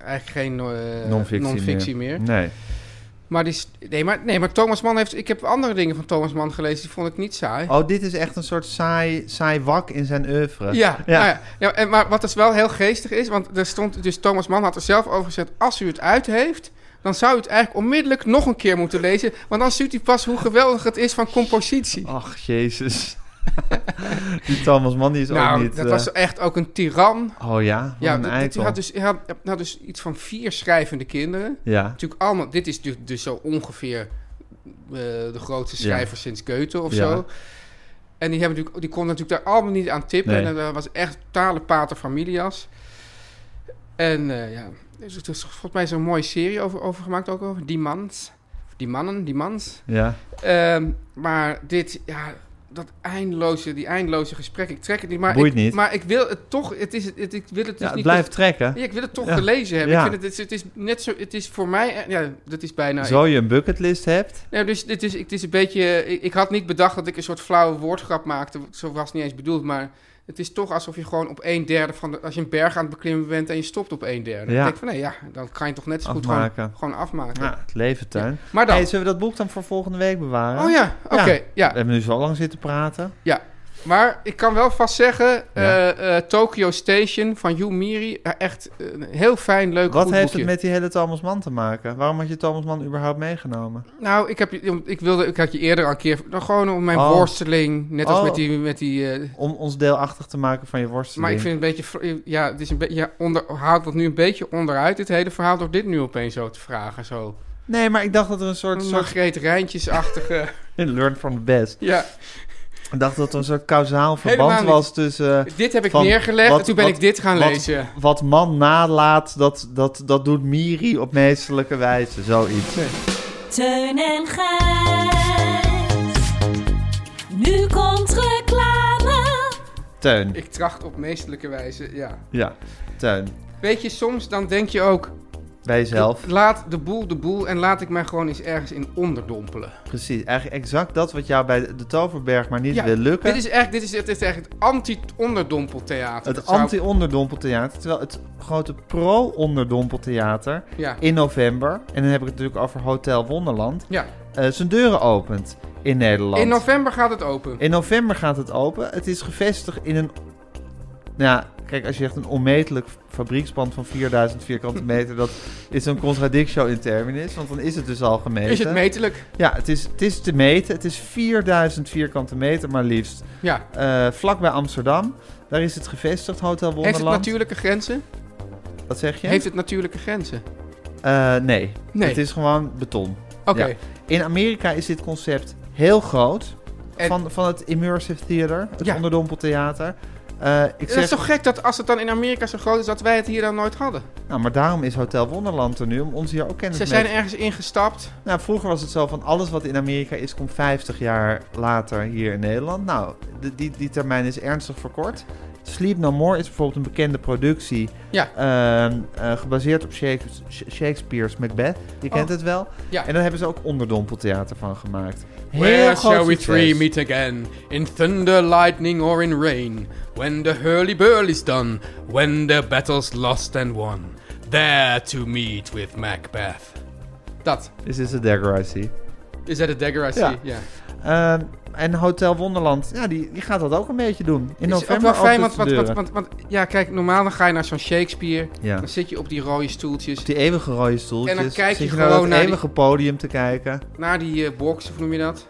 eigenlijk geen eh,
non-fictie, Hm.
non-fictie meer.
Oh. Nee.
Maar, die, is- nee, maar, nee, maar Thomas Mann heeft... Ik heb andere dingen van Thomas Mann gelezen, die vond ik niet saai.
Oh, dit is echt een soort saai, saai wak in zijn oeuvre.
Ja,
Ja.
ja. ja. en, maar wat dus wel heel geestig is, want er stond, dus Thomas Mann had er zelf over gezet, als u het uit heeft, dan zou u het eigenlijk onmiddellijk nog een keer moeten lezen, want dan ziet u pas hoe geweldig het is van compositie.
Ach, jezus. die Thomas Mann die is ook
nou,
niet...
dat
eh,
was echt ook een tiran.
Oh ja? Wat
Ja,
een
dat- dat-
eikel.
hij had, dus, hij had, hij had dus iets van vier schrijvende kinderen.
Ja,
Natuurlijk allemaal, dit is dus, dus zo ongeveer eh, de grootste
Ja.
schrijver sinds Goethe of
Ja.
zo. En die, hebben natuurlijk, die kon natuurlijk daar allemaal niet aan tippen.
Nee.
En dat was echt totale pater familias. En eh, ja, dus het is volgens mij zo'n mooie serie over, over gemaakt ook over die mans. Of Die mannen, die mans.
ja.
Ehm, maar dit, ja, dat eindeloze, die eindeloze gesprek, ik trek het niet. Maar
Boeit
ik,
niet.
Maar ik wil het toch, het is, het, ik wil het dus
ja het
niet...
blijft trekken.
Ja, ik wil het toch
Ja.
gelezen hebben.
Ja.
Ik vind het, het, is, het is net zo, het is voor mij, eh, ja, dat is bijna.
Zo je een bucketlist hebt...
Nou, dus dit is, het is een beetje, eh, ik, ik had niet bedacht dat ik een soort flauwe woordgrap maakte. Zo was het niet eens bedoeld, maar het is toch alsof je gewoon op een derde van de, als je een berg aan het beklimmen bent en je stopt op een
Ja.
derde. Dan denk ik van, nee, ja, dan kan je toch net zo goed gewoon,
Afmaken.
gewoon afmaken.
Nou, het leven tuin.
Maar dan,
Hey, zullen we dat boek dan voor volgende week bewaren?
oh ja, oké,
We
ja.
hebben nu zo lang zitten praten.
Maar ik kan wel vast zeggen, eh
Ja.
eh, Tokyo Station van Yu Miri, eh, echt een heel fijn, leuk,
Wat
goed
heeft
boekje.
het met die hele Thomas Mann te maken? Waarom had je Thomas Mann überhaupt meegenomen?
Nou, ik, heb, je- ik, wilde, ik had je eerder al een keer... Nou, gewoon om mijn
Oh.
worsteling, net als
Oh.
met die... Met die eh,
Om ons deelachtig te maken van je worsteling.
maar ik vind het een beetje... vro- Ja, het is een beetje... Ja, onder, haalt dat nu een beetje onderuit, dit hele verhaal... door dit nu opeens zo te vragen, zo.
Nee, maar ik dacht dat er een soort...
Een
soort...
Margreet Rijntjes-achtige...
Learn from the best.
ja,
Ik dacht dat er een soort kausaal verband
Helemaal niet.
was tussen... eh,
dit heb ik
Van,
neergelegd
wat-
en toen ben
wat-
ik dit gaan
wat-
lezen.
wat man nalaat, dat, dat, dat doet Miri op meestelijke wijze. Zoiets.
Teun en Gijs. Nu komt reclame.
Teun.
Ik tracht op meestelijke wijze, ja.
Ja, Teun.
Weet je, soms dan denk je ook...
Bij jezelf.
Laat de boel de boel en laat ik mij gewoon eens ergens in onderdompelen.
Precies. Eigenlijk exact dat wat jou bij de Toverberg maar niet
Ja,
wil lukken.
Dit is echt, dit is, dit is echt het anti-onderdompeltheater.
Het
Dat zou-
anti-onderdompeltheater. Terwijl het grote pro-onderdompeltheater
Ja.
in november... En dan heb ik het natuurlijk over Hotel Wonderland...
ja.
eh, zijn deuren opent in Nederland.
In november gaat het open.
In november gaat het open. Het is gevestigd in een. Nou, ja, kijk, als je echt een onmetelijk fabriekspand van 4000 vierkante meter. dat is een contradictio in terminis. Want dan is het dus al gemeten.
Is het metelijk?
Ja, het is, het is te meten. Het is 4000 vierkante meter, maar liefst.
Ja.
Eh, vlakbij Amsterdam. Daar is het gevestigd, Hotel Wonderland.
Heeft het natuurlijke grenzen?
Wat zeg je?
Heeft het natuurlijke grenzen?
Eh, nee.
Nee.
Het is gewoon beton.
Oké.
Ja. In Amerika is dit concept heel groot.
En-
Van, van het immersive theater, het
Ja.
onderdompeltheater. Eh, ik
Het is
zeg,
toch gek dat als het dan in Amerika zo groot is, dat wij het hier dan nooit hadden.
Nou, maar daarom is Hotel Wonderland er nu, om ons hier ook kennis
Ze
mee
zijn
te-
ergens ingestapt.
Nou, vroeger was het zo van alles wat in Amerika is, komt 50 jaar later hier in Nederland. Nou, de- die, die termijn is ernstig verkort. Sleep No More is bijvoorbeeld een bekende productie.
Ja.
ehm, eh, gebaseerd op Shakes- Sh- Shakespeare's Macbeth. Je kent
Oh.
het wel.
Ja.
En daar hebben ze ook onderdompeltheater van gemaakt. Heel
Where
groot
shall we
succes.
three meet again? In thunder, lightning, or in rain? When the hurly-burly's done, when the battle's lost and won. There to meet with Macbeth. Dat.
This is a dagger I see.
Is dat a dagger I see?
Ja.
Ja.
Ehm, en Hotel Wonderland, ja, die, die gaat dat ook een beetje doen. In
Is ook
november
wel fijn,
opent
want,
de
want, want,
deuren.
want, want- ja, kijk, normaal dan ga je naar zo'n Shakespeare.
Ja.
Dan zit je op die rode stoeltjes.
Op die eeuwige rode stoeltjes.
En dan kijk je
Zit nou
gewoon
dat
naar die-
eeuwige podium te kijken.
Naar die eh, box, of noem je dat?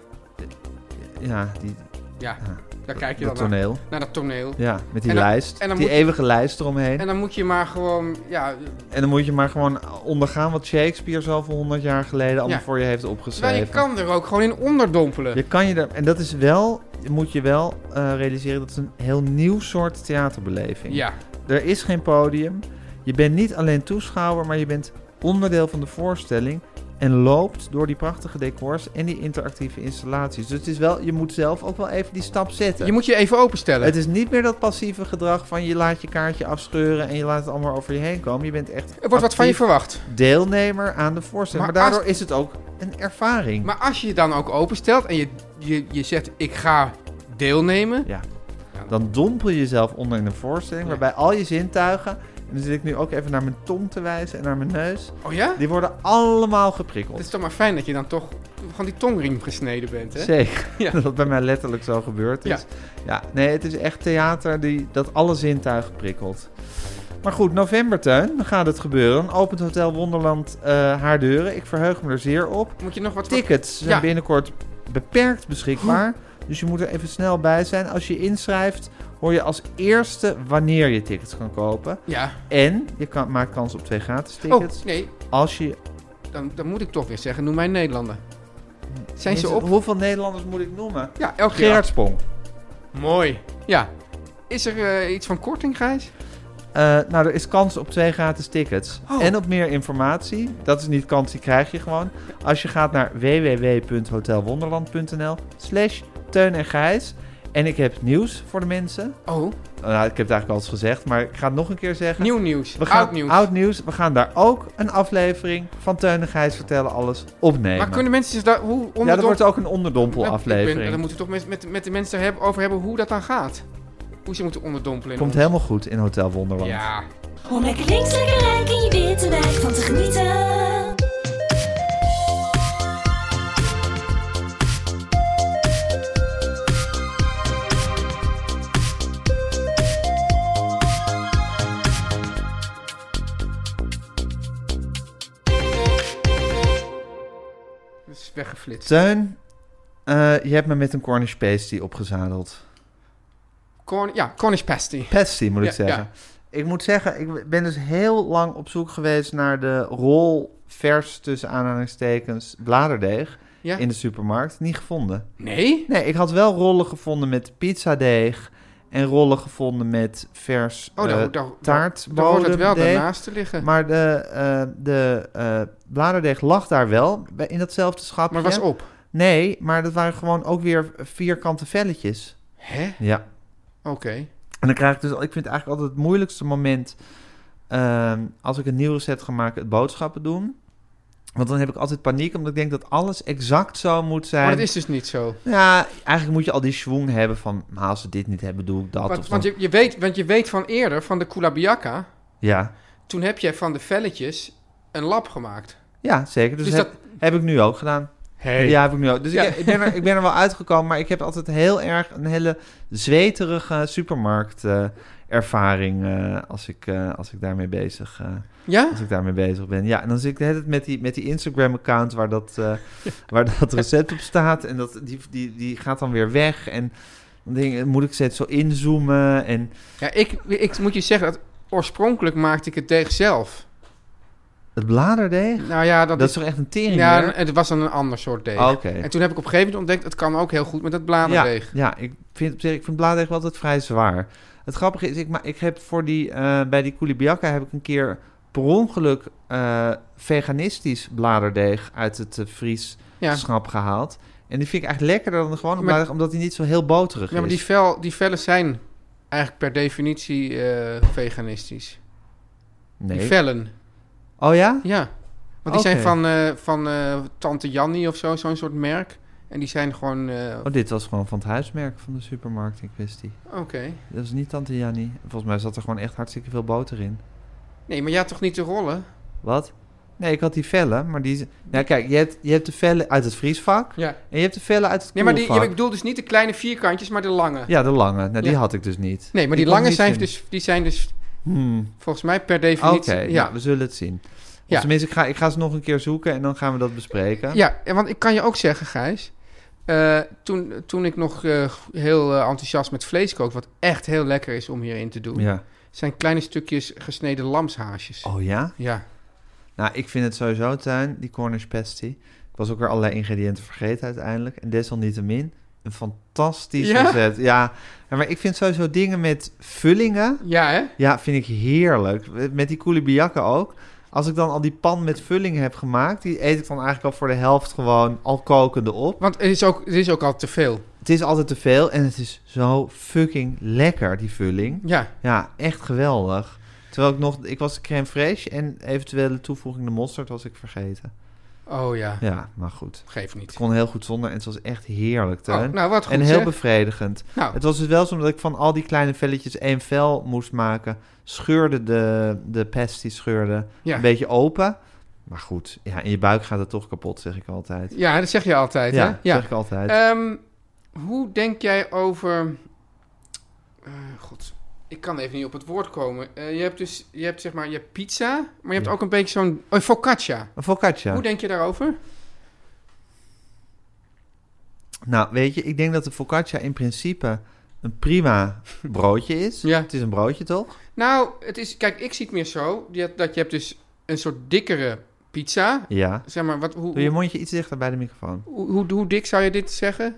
Ja, die,
Ja,
Ja,
daar kijk je
dat
dan naar.
toneel.
Naar dat toneel.
Ja, met die
En dan-
lijst.
en dan
die
moet-
eeuwige lijst eromheen.
En
En,
dan moet je maar gewoon, ja...
dan moet je maar gewoon ondergaan wat Shakespeare zoveel honderd jaar geleden allemaal
Ja.
voor je heeft
Terwijl
opgeschreven.
nou, je kan er ook gewoon in onderdompelen.
Je kan je daar- en dat is wel, je moet je wel eh, realiseren, dat is een heel nieuw soort theaterbeleving.
Ja,
Er is geen podium. Je bent niet alleen toeschouwer, maar je bent onderdeel van de voorstelling. En loopt door die prachtige decors en die interactieve installaties. Dus het is wel, je moet zelf ook wel even die stap zetten.
je moet je even openstellen.
Het is niet meer dat passieve gedrag van je laat je kaartje afscheuren en je laat het allemaal over je heen komen. Je bent echt
Er wordt wat van je
actief
verwacht.
deelnemer aan de voorstelling. Maar,
Maar als-
daardoor is het ook een ervaring.
Maar als je je dan ook openstelt en je, je, je zegt ik ga deelnemen.
Ja. Dan dompel je jezelf onder in een voorstelling waarbij al je zintuigen. En dan zit ik nu ook even naar mijn tong te wijzen en naar mijn neus.
Oh ja?
Die worden allemaal
Het is
geprikkeld.
toch maar fijn dat je dan toch van die tongriem gesneden bent, hè?
Zeker.
Ja.
Dat dat bij mij letterlijk zo gebeurd is. Ja. nee, het is echt theater die, dat alle zintuigen prikkelt. Maar goed, november, Teun, dan gaat het gebeuren. Dan opent Hotel Wonderland eh, haar deuren. Ik verheug me er zeer op.
Moet je nog wat...
Tickets zijn
Ja.
binnenkort beperkt beschikbaar. Dus je moet er even snel bij zijn. Als je inschrijft, hoor je als eerste wanneer je tickets kan kopen.
Ja.
En je kan, maakt kans op twee gratis
Oh,
tickets.
nee.
Als je,
Dan, dan moet ik toch weer zeggen, noem mij Nederlander. Zijn ze
Mensen,
op?
Hoeveel Nederlanders moet ik noemen?
Ja, elke keer.
Gerard Spong.
Mooi. Ja. Is er eh, iets van korting, Gijs?
Eh, nou, er is kans op twee gratis tickets.
Oh.
En op meer informatie. Dat is niet kans, die krijg je gewoon. Als je gaat naar www.hotelwonderland.nl slash Teun en Gijs. En ik heb nieuws voor de mensen.
Oh,
Nou, ik heb het eigenlijk al eens gezegd, maar ik ga het nog een keer zeggen.
nieuw nieuws.
We gaan,
oud nieuws.
We gaan daar ook een aflevering van Teun en Gijs Vertellen Alles opnemen.
maar kunnen mensen dus daar... Hoe
ja, dat
onderdom-
wordt ook een
Nou, ik
onderdompelaflevering.
ben- Dan moeten we toch met, met, met de mensen hebben, over hebben hoe dat dan gaat. Hoe ze moeten onderdompelen. in
Komt
ons-
helemaal goed in Hotel Wonderland.
Ja.
Om lekker links, lekker rijk in je witte wijk van te genieten.
Dat is weggeflitst.
Teun, eh, je hebt me met een Cornish pasty opgezadeld.
Corn ja, Cornish pasty.
Pasty, moet ik
Ja,
zeggen.
ja.
Ik moet zeggen, ik ben dus heel lang op zoek geweest naar de rol vers tussen aanhalingstekens bladerdeeg
Ja?
in de supermarkt. Niet gevonden.
Nee?
Nee, ik had wel rollen gevonden met pizzadeeg en rollen gevonden met vers
Oh, daar,
eh,
daar, daar, daar hoort het wel
taartbodemdeeg.
daarnaast te liggen.
Maar
Maar,
de, eh, de eh, bladerdeeg lag daar wel bij- in datzelfde schapje.
was op.
Nee, maar dat waren gewoon ook weer vierkante velletjes.
Hè?
Ja.
Oké.
En dan krijg ik dus, ik vind het eigenlijk altijd het moeilijkste moment ehm, als ik een nieuw recept ga maken, het boodschappen doen. Want dan heb ik altijd paniek, omdat ik denk dat alles exact zo moet zijn.
Maar dat is dus niet zo.
Ja, eigenlijk moet je al die schwung hebben van, maar als ze dit niet hebben, doe ik dat.
Want,
of
want,
dan-
je, je weet, want je weet van eerder, van de kulabiaka,
Ja.
toen heb jij van de velletjes een lap gemaakt.
ja, zeker. Dus,
Dus
heb,
dat-
heb ik nu ook gedaan.
Hey.
Ja, heb ik nu ook. Dus
Ja.
ik, ik, ben er, ik ben er wel uitgekomen, maar ik heb altijd heel erg een hele zweterige supermarktervaring als, ik, eh, als ik daarmee bezig eh,
Ja?
Als ik daarmee bezig ben. Ja, en dan zit ik de hele tijd met die, met die Instagram-account waar, dat, eh, waar dat recept op staat. En dat, die, die, die gaat dan weer weg. En dan denk ik, moet ik steeds zo inzoomen? En
Ja, ik, ik moet je zeggen, dat oorspronkelijk maakte ik het deeg zelf.
het bladerdeeg?
Nou ja, dat,
Dat is toch echt een tering?
Ja,
weer?
en het was dan een ander soort deeg.
Oké.
En toen heb ik op een gegeven moment ontdekt, het kan ook heel goed met dat
Ja,
bladerdeeg.
ja, ik vind, op zich- ik vind bladerdeeg wel altijd vrij zwaar. Het grappige is, ik, ma- ik heb voor die, eh, bij die Koulibiaka heb ik een keer per ongeluk eh, veganistisch bladerdeeg uit het eh, Fries
Ja, ja.
schap gehaald. En die vind ik eigenlijk lekkerder dan de gewone
Maar-
bladerdeeg, omdat die niet zo heel boterig
maar
is.
die, vel, die vellen zijn eigenlijk per definitie eh, veganistisch.
Nee.
Die vellen,
Oh ja?
ja. Want die zijn
Oké.
van, eh, van eh, Tante Jannie of zo, zo'n soort merk. En die zijn gewoon... eh,
Oh, dit was gewoon van het huismerk van de supermarkt in kwestie.
Oké.
Dat is niet Tante Jannie. Volgens mij zat er gewoon echt hartstikke veel boter in.
Nee, maar jij had toch niet de rollen?
Wat? Nee, ik had die vellen, maar die... Nou kijk, je hebt, je hebt de vellen uit het vriesvak
Ja.
en je hebt de vellen uit het
Nee, maar die, ja,
koelvak.
ik bedoel dus niet de kleine vierkantjes, maar de lange.
Ja, de lange. Nou, die
Ja.
had ik dus niet.
Nee, maar die,
kon ik
lange
niet
zijn
vinden.
dus, die zijn dus
Hmm.
volgens mij per
Oké, nou,
definitie...
ja.
ja.
we zullen het zien. Of
Ja.
tenminste, ik ga, ik ga ze nog een keer zoeken en dan gaan we dat bespreken.
Ja, en want ik kan je ook zeggen, Gijs. eh, toen, toen ik nog eh, heel eh, enthousiast met vlees kook, wat echt heel lekker is om hierin te doen,
Ja.
zijn kleine stukjes gesneden lamshaasjes.
Oh ja?
Ja.
Nou, ik vind het sowieso, Tuin, die Cornish pasty. Ik was ook weer allerlei ingrediënten vergeten uiteindelijk. En desalniettemin, een fantastisch
Ja?
recept. Ja. Ja, maar ik vind sowieso dingen met vullingen,
Ja, hè?
ja, vind ik heerlijk. Met die koulibiakken ook. Als ik dan al die pan met vullingen heb gemaakt, die eet ik dan eigenlijk al voor de helft gewoon al kokende op.
Want het is ook, het is ook al te veel.
Het is altijd te veel en het is zo fucking lekker, die vulling.
Ja.
Ja, echt geweldig. Terwijl ik nog, ik was de crème fraîche en eventuele toevoeging de mosterd was ik vergeten.
Oh ja.
Ja, maar goed.
Geef niet.
Ik kon heel goed zonder en het was echt heerlijk,
Oh,
Teun.
nou, wat goed
en heel
zeg.
bevredigend.
Nou.
Het was dus wel zo omdat ik van al die kleine velletjes één vel moest maken. Scheurde de, de pasty scheurde
Ja.
een beetje open. Maar goed, ja, in je buik gaat het toch kapot, zeg ik altijd.
Ja, dat zeg je altijd,
ja,
hè? Ja.
zeg ik altijd.
Ehm, hoe denk jij over... Eh, God, ik kan even niet op het woord komen. Eh, je hebt dus, je hebt zeg maar, je hebt pizza, maar je hebt
Ja.
ook een beetje zo'n... Oh, focaccia.
een focaccia.
Hoe denk je daarover?
Nou, weet je, ik denk dat de focaccia in principe een prima broodje is.
Ja.
Het is een broodje, toch?
Nou, het is, kijk, ik zie het meer zo. Je, dat je hebt dus een soort dikkere pizza.
Ja.
Zeg maar, wat, hoe,
Doe je mondje iets dichter bij de microfoon.
hoe, hoe, hoe dik zou je dit zeggen?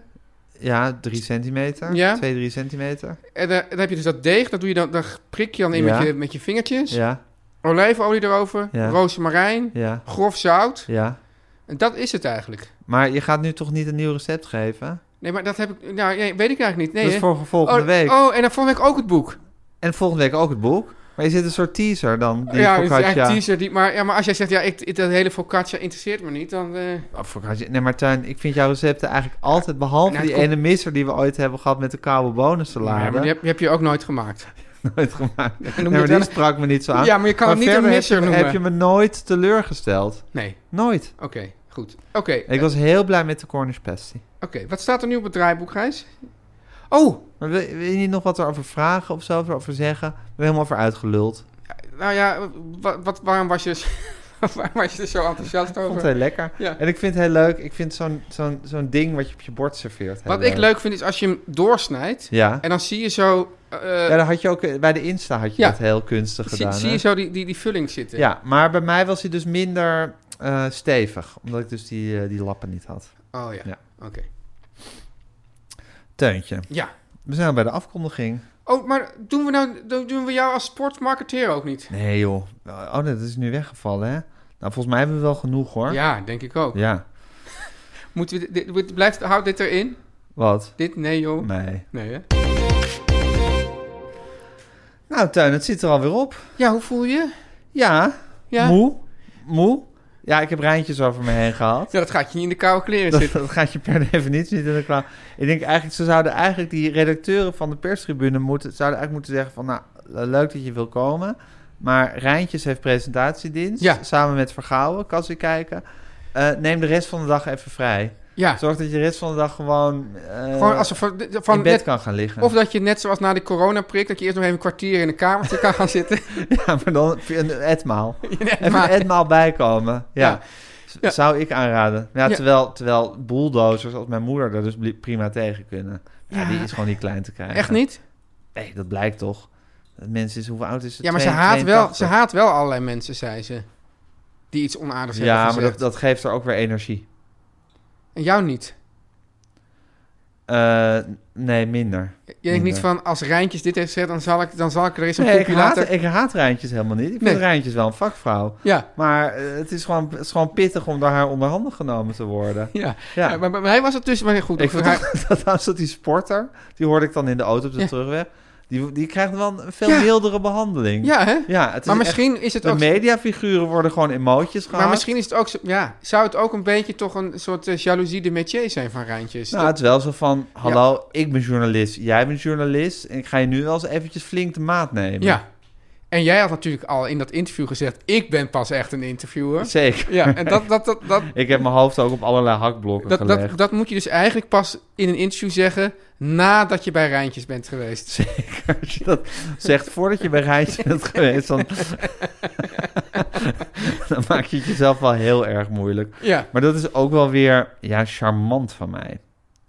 Ja, drie centimeter.
Ja.
Twee, drie centimeter.
En dan, dan heb je dus dat deeg, dat doe je dan, dan prik je dan in
Ja.
met, je, met je vingertjes.
Ja,
Olijfolie erover,
Ja.
rozemarijn,
ja,
grof zout.
ja.
En dat is het eigenlijk.
Maar je gaat nu toch niet een nieuw recept geven?
Nee, maar dat heb ik, nou, nee, weet ik eigenlijk niet. Nee,
dat is
hè?
voor volgende
oh,
week.
Oh, en dan volgende week ook het boek.
En volgende week ook het boek. Maar je zit een soort teaser dan. Die
ja, het is
focaccia.
eigenlijk teaser. Die, maar, ja, maar als jij zegt, ja, ik, ik- dat hele focaccia interesseert me niet, dan... eh,
Oh, focaccia. Nee, maar Tuin, ik vind jouw recepten eigenlijk altijd... behalve
Nou, het
die
komt-
ene misser die we ooit hebben gehad met de koude bonensalade.
ja, maar die heb, die heb je ook nooit gemaakt.
nooit gemaakt.
je
Nee, maar
het
die
wel-
sprak me niet zo aan.
Ja, maar je kan
Maar
het niet een
verder heb
misser
je-
noemen.
heb je me nooit teleurgesteld.
Nee,
Nooit.
oké, goed. Oké,
Ik
eh,
was heel blij met de Cornish pasty.
oké. wat staat er nu op het draaiboek, Gijs? Oh,
Maar wil, wil je niet nog wat erover vragen of zo? Of erover zeggen? We hebben helemaal voor uitgeluld.
nou ja, wat, wat, waarom, was je, waarom was je er zo enthousiast
Ik vond
over?
het heel lekker.
Ja.
En ik vind het heel leuk. Ik vind zo'n zo'n zo'n ding wat je op je bord serveert. heel
Wat ik leuk vind is als je hem doorsnijdt
Ja.
en dan zie je zo, eh,
ja, dan had je ook eh, bij de Insta had je
Ja.
dat heel kunstig
zie,
gedaan.
zie
hè?
je zo die, die, die vulling zitten.
Ja, maar bij mij was hij dus minder eh, stevig. Omdat ik dus die, eh, die lappen niet had.
Oh ja,
Ja.
oké.
Teuntje.
Ja.
We zijn al bij de afkondiging.
Oh, maar doen we, nou, do- doen we jou als sportmarketeer ook niet?
Nee joh. Oh, nee, dat is nu weggevallen hè. Nou, volgens mij hebben we wel genoeg hoor.
Ja, denk ik ook.
Ja.
Moeten we, dit- dit, dit- blijft, houd dit erin?
Wat?
Dit? Nee joh.
Nee.
Nee hè?
Nou Tuin, het zit er alweer op.
Ja, hoe voel je?
Ja.
Ja.
Moe. Moe. Ja, ik heb rijntjes over me heen gehaald.
Ja, dat gaat je niet in de koude kleren
Dat,
zitten.
dat gaat je per definitie niet in de klauw. Ik denk eigenlijk, ze zouden eigenlijk die redacteuren van de perstribune moeten, zouden eigenlijk moeten zeggen van, nou, leuk dat je wil komen, maar Rijntjes heeft presentatiedienst,
Ja.
samen met Vergouwen, kan ze kijken. Eh, neem de rest van de dag even vrij.
Ja.
Zorg dat je de rest van de dag gewoon, eh,
Gewoon als er van,
in
van
bed
net,
kan gaan liggen.
of dat je net zoals na de coronaprik, dat je eerst nog even een kwartier in een kamertje kan gaan zitten.
Ja, maar dan een etmaal. Even
maar-
een etmaal bijkomen. Ja.
Ja.
Z-
Ja.
Zou ik aanraden. Ja,
Ja.
Terwijl, terwijl bulldozers als mijn moeder daar dus bli- prima tegen kunnen. Ja,
Ja.
die is gewoon niet klein te krijgen.
Echt niet?
Nee, dat blijkt toch. Dat mensen is, hoe oud is het?
Ja, maar ze
Twee-
haat, wel,
82.
ze haat wel allerlei mensen, zei ze. Die iets onaardigs hebben
Ja, maar
gezegd.
dat, dat geeft er ook weer energie.
En jou niet.
Eh, nee, minder.
Je denkt niet
Minder.
van, als Rijntjes dit heeft gezegd, dan zal ik, dan zal ik er eens een
Nee, ik
kopje laten.
haat, ik haat Rijntjes helemaal niet. Ik
Nee.
vind Rijntjes wel een vakvrouw.
Ja,
Maar eh, het, is gewoon, het is gewoon pittig om door haar onderhanden genomen te worden.
ja.
Ja.
ja. maar, maar hij was het dus, maar goed.
Ik
over
vond
haar-
dat, dat was dat die sporter, die hoorde ik dan in de auto op de
Ja.
terugweg. Die, die krijgt wel een veel
Ja.
mildere behandeling.
Ja, hè?
ja het is echt-
maar misschien is het
de
ook...
mediafiguren worden gewoon in mootjes gehaald.
Maar misschien is het ook... zo- Ja, zou het ook een beetje toch een soort eh, jaloezie de métier zijn van Rijntjes?
Nou,
Dat-
het is wel zo van, hallo, ik ben journalist, jij bent journalist... en ik ga je nu wel eens eventjes flink de maat nemen.
Ja. En jij had natuurlijk al in dat interview gezegd... ik ben pas echt een interviewer.
Zeker.
Ja, en dat, dat, dat, dat,
Ik heb mijn hoofd ook op allerlei hakblokken
dat,
gelegd.
dat, dat moet je dus eigenlijk pas in een interview zeggen... nadat je bij Rijntjes bent geweest.
Zeker, als je dat zegt voordat je bij Rijntje bent geweest... Dan, dan maak je het jezelf wel heel erg moeilijk.
Ja,
Maar dat is ook wel weer ja, charmant van mij.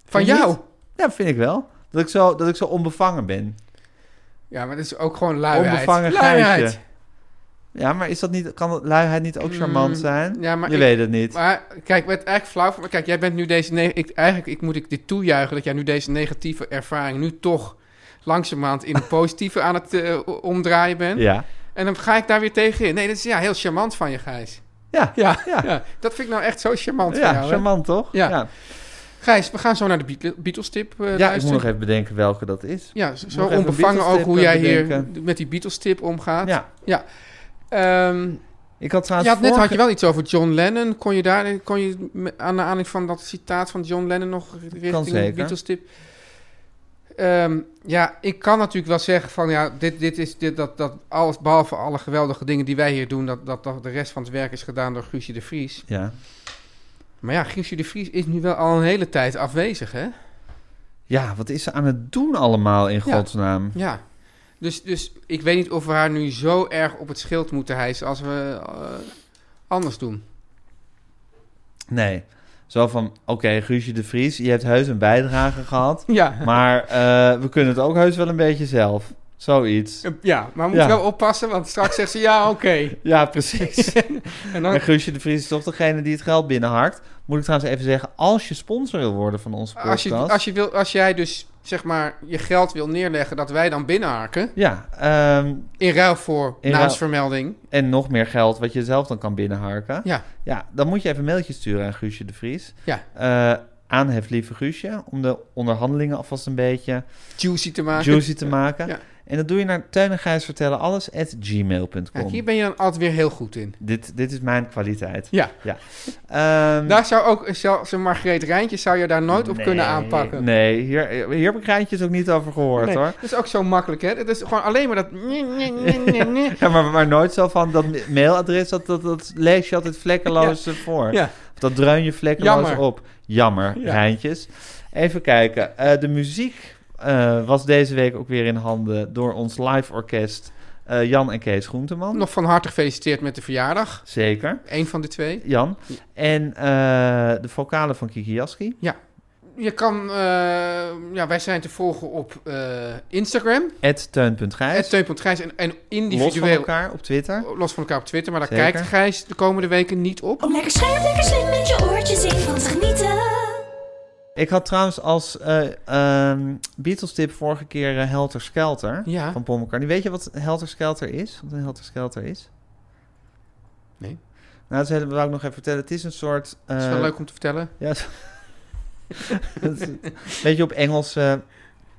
van
Vind je
jou.
niet? Ja, vind ik wel. Dat ik zo, dat ik zo onbevangen ben.
Ja, maar dat is ook gewoon luiheid.
Onbevangen
luiheid.
geitje. Ja, maar is dat niet, kan dat- luiheid niet ook charmant
Mm,
zijn?
ja, maar
je
ik-
weet het niet.
Maar kijk, het echt flauw van. Maar kijk, jij bent nu deze. ne- ik, eigenlijk ik, moet ik dit toejuichen dat jij nu deze negatieve ervaring nu toch langzamerhand in een positieve aan het eh, o- omdraaien bent.
Ja.
En dan ga ik daar weer tegenin. Nee, dat is ja, heel charmant van je, Gijs.
Ja,
Ja, ja.
Ja.
dat vind ik nou echt zo charmant
ja
van jou. hè?
charmant toch?
Ja. Eh,
ja.
Gijs, we gaan zo naar de Beatle- Beatles-tip eh,
Ja, ik moet
luisteren.
nog even bedenken welke dat is.
ja, zo- zo
nog even een
onbevangen ook
Beatles-tip,
hoe
eh,
jij hier
bedenken.
met die Beatles-tip omgaat.
Ja,
Ehm,
ik had
Je
trouwens
had, net
vorige-
had je wel iets over John Lennon. Kon je daar kon je me- aan de aanleiding van dat citaat van John Lennon nog richting de
zeker.
Beatles tip? Ehm, ja, ik kan natuurlijk wel zeggen van ja, dit, dit is dit, dat, dat alles behalve alle geweldige dingen die wij hier doen, dat, dat, dat de rest van het werk is gedaan door Guusje de Vries.
Ja.
Maar ja, Guusje de Vries is nu wel al een hele tijd afwezig, hè?
ja, wat is ze aan het doen allemaal in
Ja.
godsnaam?
Ja. Dus, dus ik weet niet of we haar nu zo erg op het schild moeten hijsen als we eh, anders doen.
Nee. Zo van, oké, Guusje de Vries, je hebt heus een bijdrage gehad.
Ja.
Maar eh, we kunnen het ook heus wel een beetje zelf. Zoiets.
Eh, Ja, maar we
Ja.
moeten wel oppassen, want straks zegt ze ja, oké.
Ja, precies.
En
En
dan,
Guusje de Vries is toch degene die het geld binnenharkt. Moet ik trouwens even zeggen, als je sponsor wil worden van onze podcast...
als, je, als, je wil, als jij dus, zeg maar, je geld wil neerleggen dat wij dan binnenharken...
Ja, ehm,
in ruil voor
In ruil-
naamsvermelding...
en nog meer geld wat je zelf dan kan binnenharken.
Ja.
Ja, dan moet je even een mailtje sturen aan Guusje de Vries.
Ja.
Eh, aanhef lieve Guusje, om de onderhandelingen alvast een beetje
juicy te maken.
juicy te maken.
Ja.
En dat doe je naar Teun en Gijs vertellen alles at
Kijk,
gmail.com.
hier ben je dan altijd weer heel goed in.
Dit, dit is mijn kwaliteit.
Ja.
ja. Ehm,
Daar zou ook, zelfs een Margreet Rijntje zou je daar nooit op
nee,
kunnen aanpakken.
Nee, hier, hier heb ik Rijntjes ook niet over gehoord
Nee,
hoor.
Dat is ook zo makkelijk, hè? Het is gewoon alleen maar dat... nee, nee, nee, nee, nee.
Ja, maar, maar nooit zo van dat mailadres, dat, dat, dat lees je altijd vlekkeloos eh, voor.
Ja.
Dat dreun je vlekkeloos
Jammer.
op. Jammer,
Ja.
Rijntjes. Even kijken. Eh, de muziek eh, was deze week ook weer in handen door ons live orkest eh, Jan en Kees Groenteman.
Nog van harte gefeliciteerd met de verjaardag.
Zeker,
Eén van de twee.
Jan. En eh, de vocalen van Kiki Jaski.
Je kan... eh, ja, wij zijn te volgen op eh, Instagram.
Teun.gijs.
Het Teun.Gijs en, en
Los van
individueel Oh,
elkaar op Twitter.
los van elkaar op Twitter, maar daar
Zeker.
kijkt Gijs de komende weken niet op.
Om lekker scherp, lekker slim met je oortjes in van te genieten.
Ik had trouwens als eh Beatles tip vorige keer eh, Helter Skelter
Ja.
van Paul McCartney. Weet je wat Helter Skelter is? Wat een Helter Skelter is?
Nee.
Nou, dat wil ik nog even vertellen. Het is een soort... eh,
Dat is wel leuk om te vertellen.
Ja, zo- Dat is een beetje op Engelse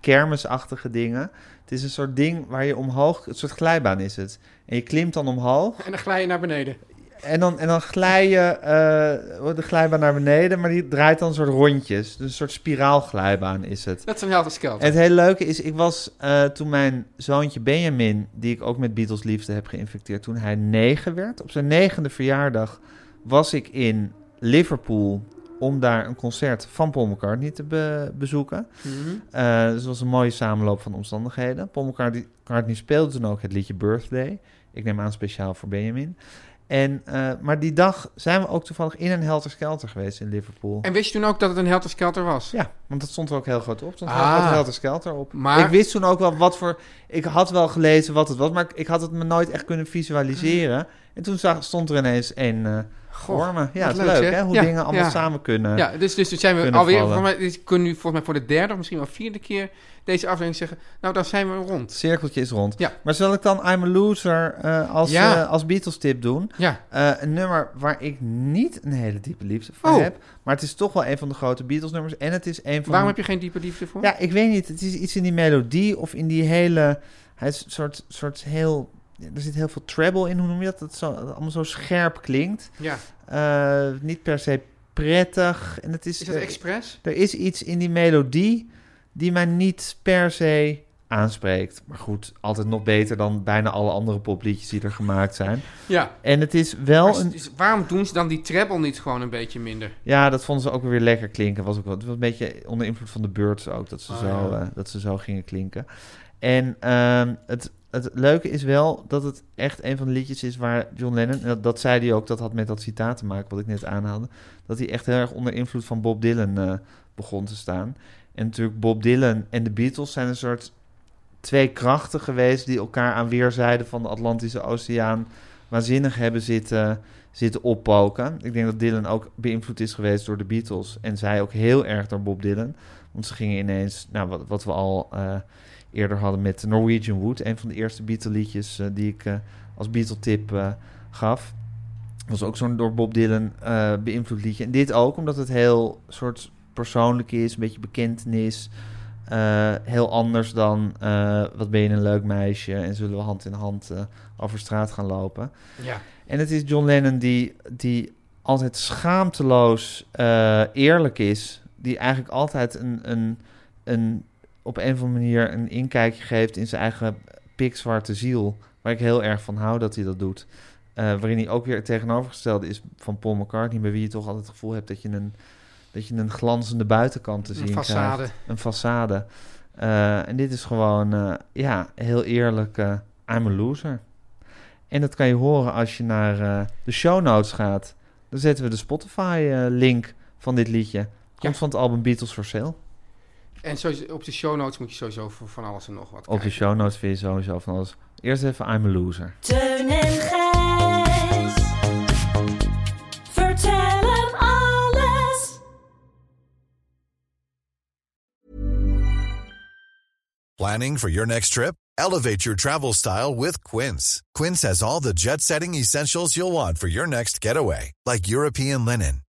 kermisachtige dingen. Het is een soort ding waar je omhoog... Een soort glijbaan is het. En je klimt dan omhoog.
En dan glij je naar beneden.
En dan, en dan glij je eh, de glijbaan naar beneden, maar die draait dan een soort rondjes. Dus een soort spiraalglijbaan is het.
Dat is een helder skeld.
En het hele leuke is, ik was eh, toen mijn zoontje Benjamin, die ik ook met Beatles liefde heb geïnfecteerd, toen hij negen werd. Op zijn negende verjaardag was ik in Liverpool om daar een concert van Paul McCartney te be- bezoeken.
Mhm.
Eh, dus het was een mooie samenloop van omstandigheden. Paul McCartney McCartney speelde toen ook het liedje Birthday. Ik neem aan speciaal voor Benjamin. En, eh, maar die dag zijn we ook toevallig in een helter skelter geweest in Liverpool.
En wist je toen ook dat het een helder skelter was?
Ja, want dat stond er ook heel groot op. Er stond
Ah.
heel groot helter skelter op.
Maar-
ik wist toen ook wel wat voor... Ik had wel gelezen wat het was, maar ik- ik had het me nooit echt kunnen visualiseren. En En toen zag, stond er ineens één eh voor me. Ja,
wat
het is
leuk,
leuk,
hè?
hè? Hoe
Ja,
dingen allemaal
ja.
samen kunnen.
Ja, dus, dus, dus zijn we
Kunnen
alweer,
vallen.
volgens mij, dit kunnen nu volgens mij voor de derde of misschien wel vierde keer deze aflevering zeggen, nou dan zijn we
Het
rond.
cirkeltje is rond.
Ja.
Maar zal ik dan I'm a Loser eh, als,
Ja.
eh, als Beatles-tip doen?
Ja,
Eh, een nummer waar ik niet een hele diepe liefde voor
Oh.
heb. Maar het is toch wel een van de grote Beatles-nummers. En het is een van...
waarom heb je geen diepe liefde voor?
Ja, ik weet niet. Het is iets in die melodie of in die hele... Hij is een soort, soort heel... Er zit heel veel treble in, hoe noem je dat? Dat, zo, dat allemaal zo scherp klinkt.
Ja.
Eh, niet per se prettig. En het is,
Is dat
er-
expres?
er is iets in die melodie die mij niet per se aanspreekt. Maar goed, altijd nog beter dan bijna alle andere popliedjes die er gemaakt zijn.
Ja.
En het is wel
Maar
een...
dus waarom doen ze dan die treble niet gewoon een beetje minder?
Ja, dat vonden ze ook weer lekker klinken. Was ook wel, het was een beetje onder invloed van de Birds ook, dat ze,
Ah,
zo,
ja.
eh, dat ze zo gingen klinken. En ehm, het, het leuke is wel dat het echt een van de liedjes is waar John Lennon... en Dat, dat zei hij ook, dat had met dat citaat te maken wat ik net aanhaalde. Dat hij echt heel erg onder invloed van Bob Dylan eh, begon te staan. En natuurlijk Bob Dylan en de Beatles zijn een soort twee krachten geweest... die elkaar aan weerszijden van de Atlantische Oceaan waanzinnig hebben zitten zitten oppoken. Ik denk dat Dylan ook beïnvloed is geweest door de Beatles. En zij ook heel erg door Bob Dylan. Want ze gingen ineens, nou, wat, wat we al eh, eerder hadden met Norwegian Wood. Een van de eerste Beatle-liedjes eh, die ik eh, als Beatle-tip eh, gaf. Was ook zo'n door Bob Dylan eh, beïnvloed liedje. En dit ook, omdat het heel soort persoonlijk is. Een beetje bekentenis. Eh, heel anders dan eh, wat ben je een leuk meisje en zullen we hand in hand eh, over straat gaan lopen.
Ja.
En het is John Lennon die, die altijd schaamteloos eh, eerlijk is. Die eigenlijk altijd een, een, een, op een of andere manier een inkijkje geeft in zijn eigen pikzwarte ziel. Waar ik heel erg van hou dat hij dat doet. Eh, waarin hij ook weer het tegenovergestelde is van Paul McCartney. Bij wie je toch altijd het gevoel hebt dat je een, dat je een glanzende buitenkant te
Een
zien krijgt
façade.
een façade. Eh, en dit is gewoon, eh, ja, heel eerlijk, eh, I'm a loser. En dat kan je horen als je naar eh, de show notes gaat. Dan zetten we de Spotify-link van dit liedje. Komt
Ja.
van het album Beatles for Sale.
En sowieso, op de show notes moet je sowieso voor van alles en nog wat
Op de
kijken.
show notes vind je sowieso van alles. Eerst even I'm a loser.
Teun en Gijs. Vertel hem alles.
Planning for your next trip? Elevate your travel style with Quince. Quince has all the jet setting essentials you'll want for your next getaway, like European linen,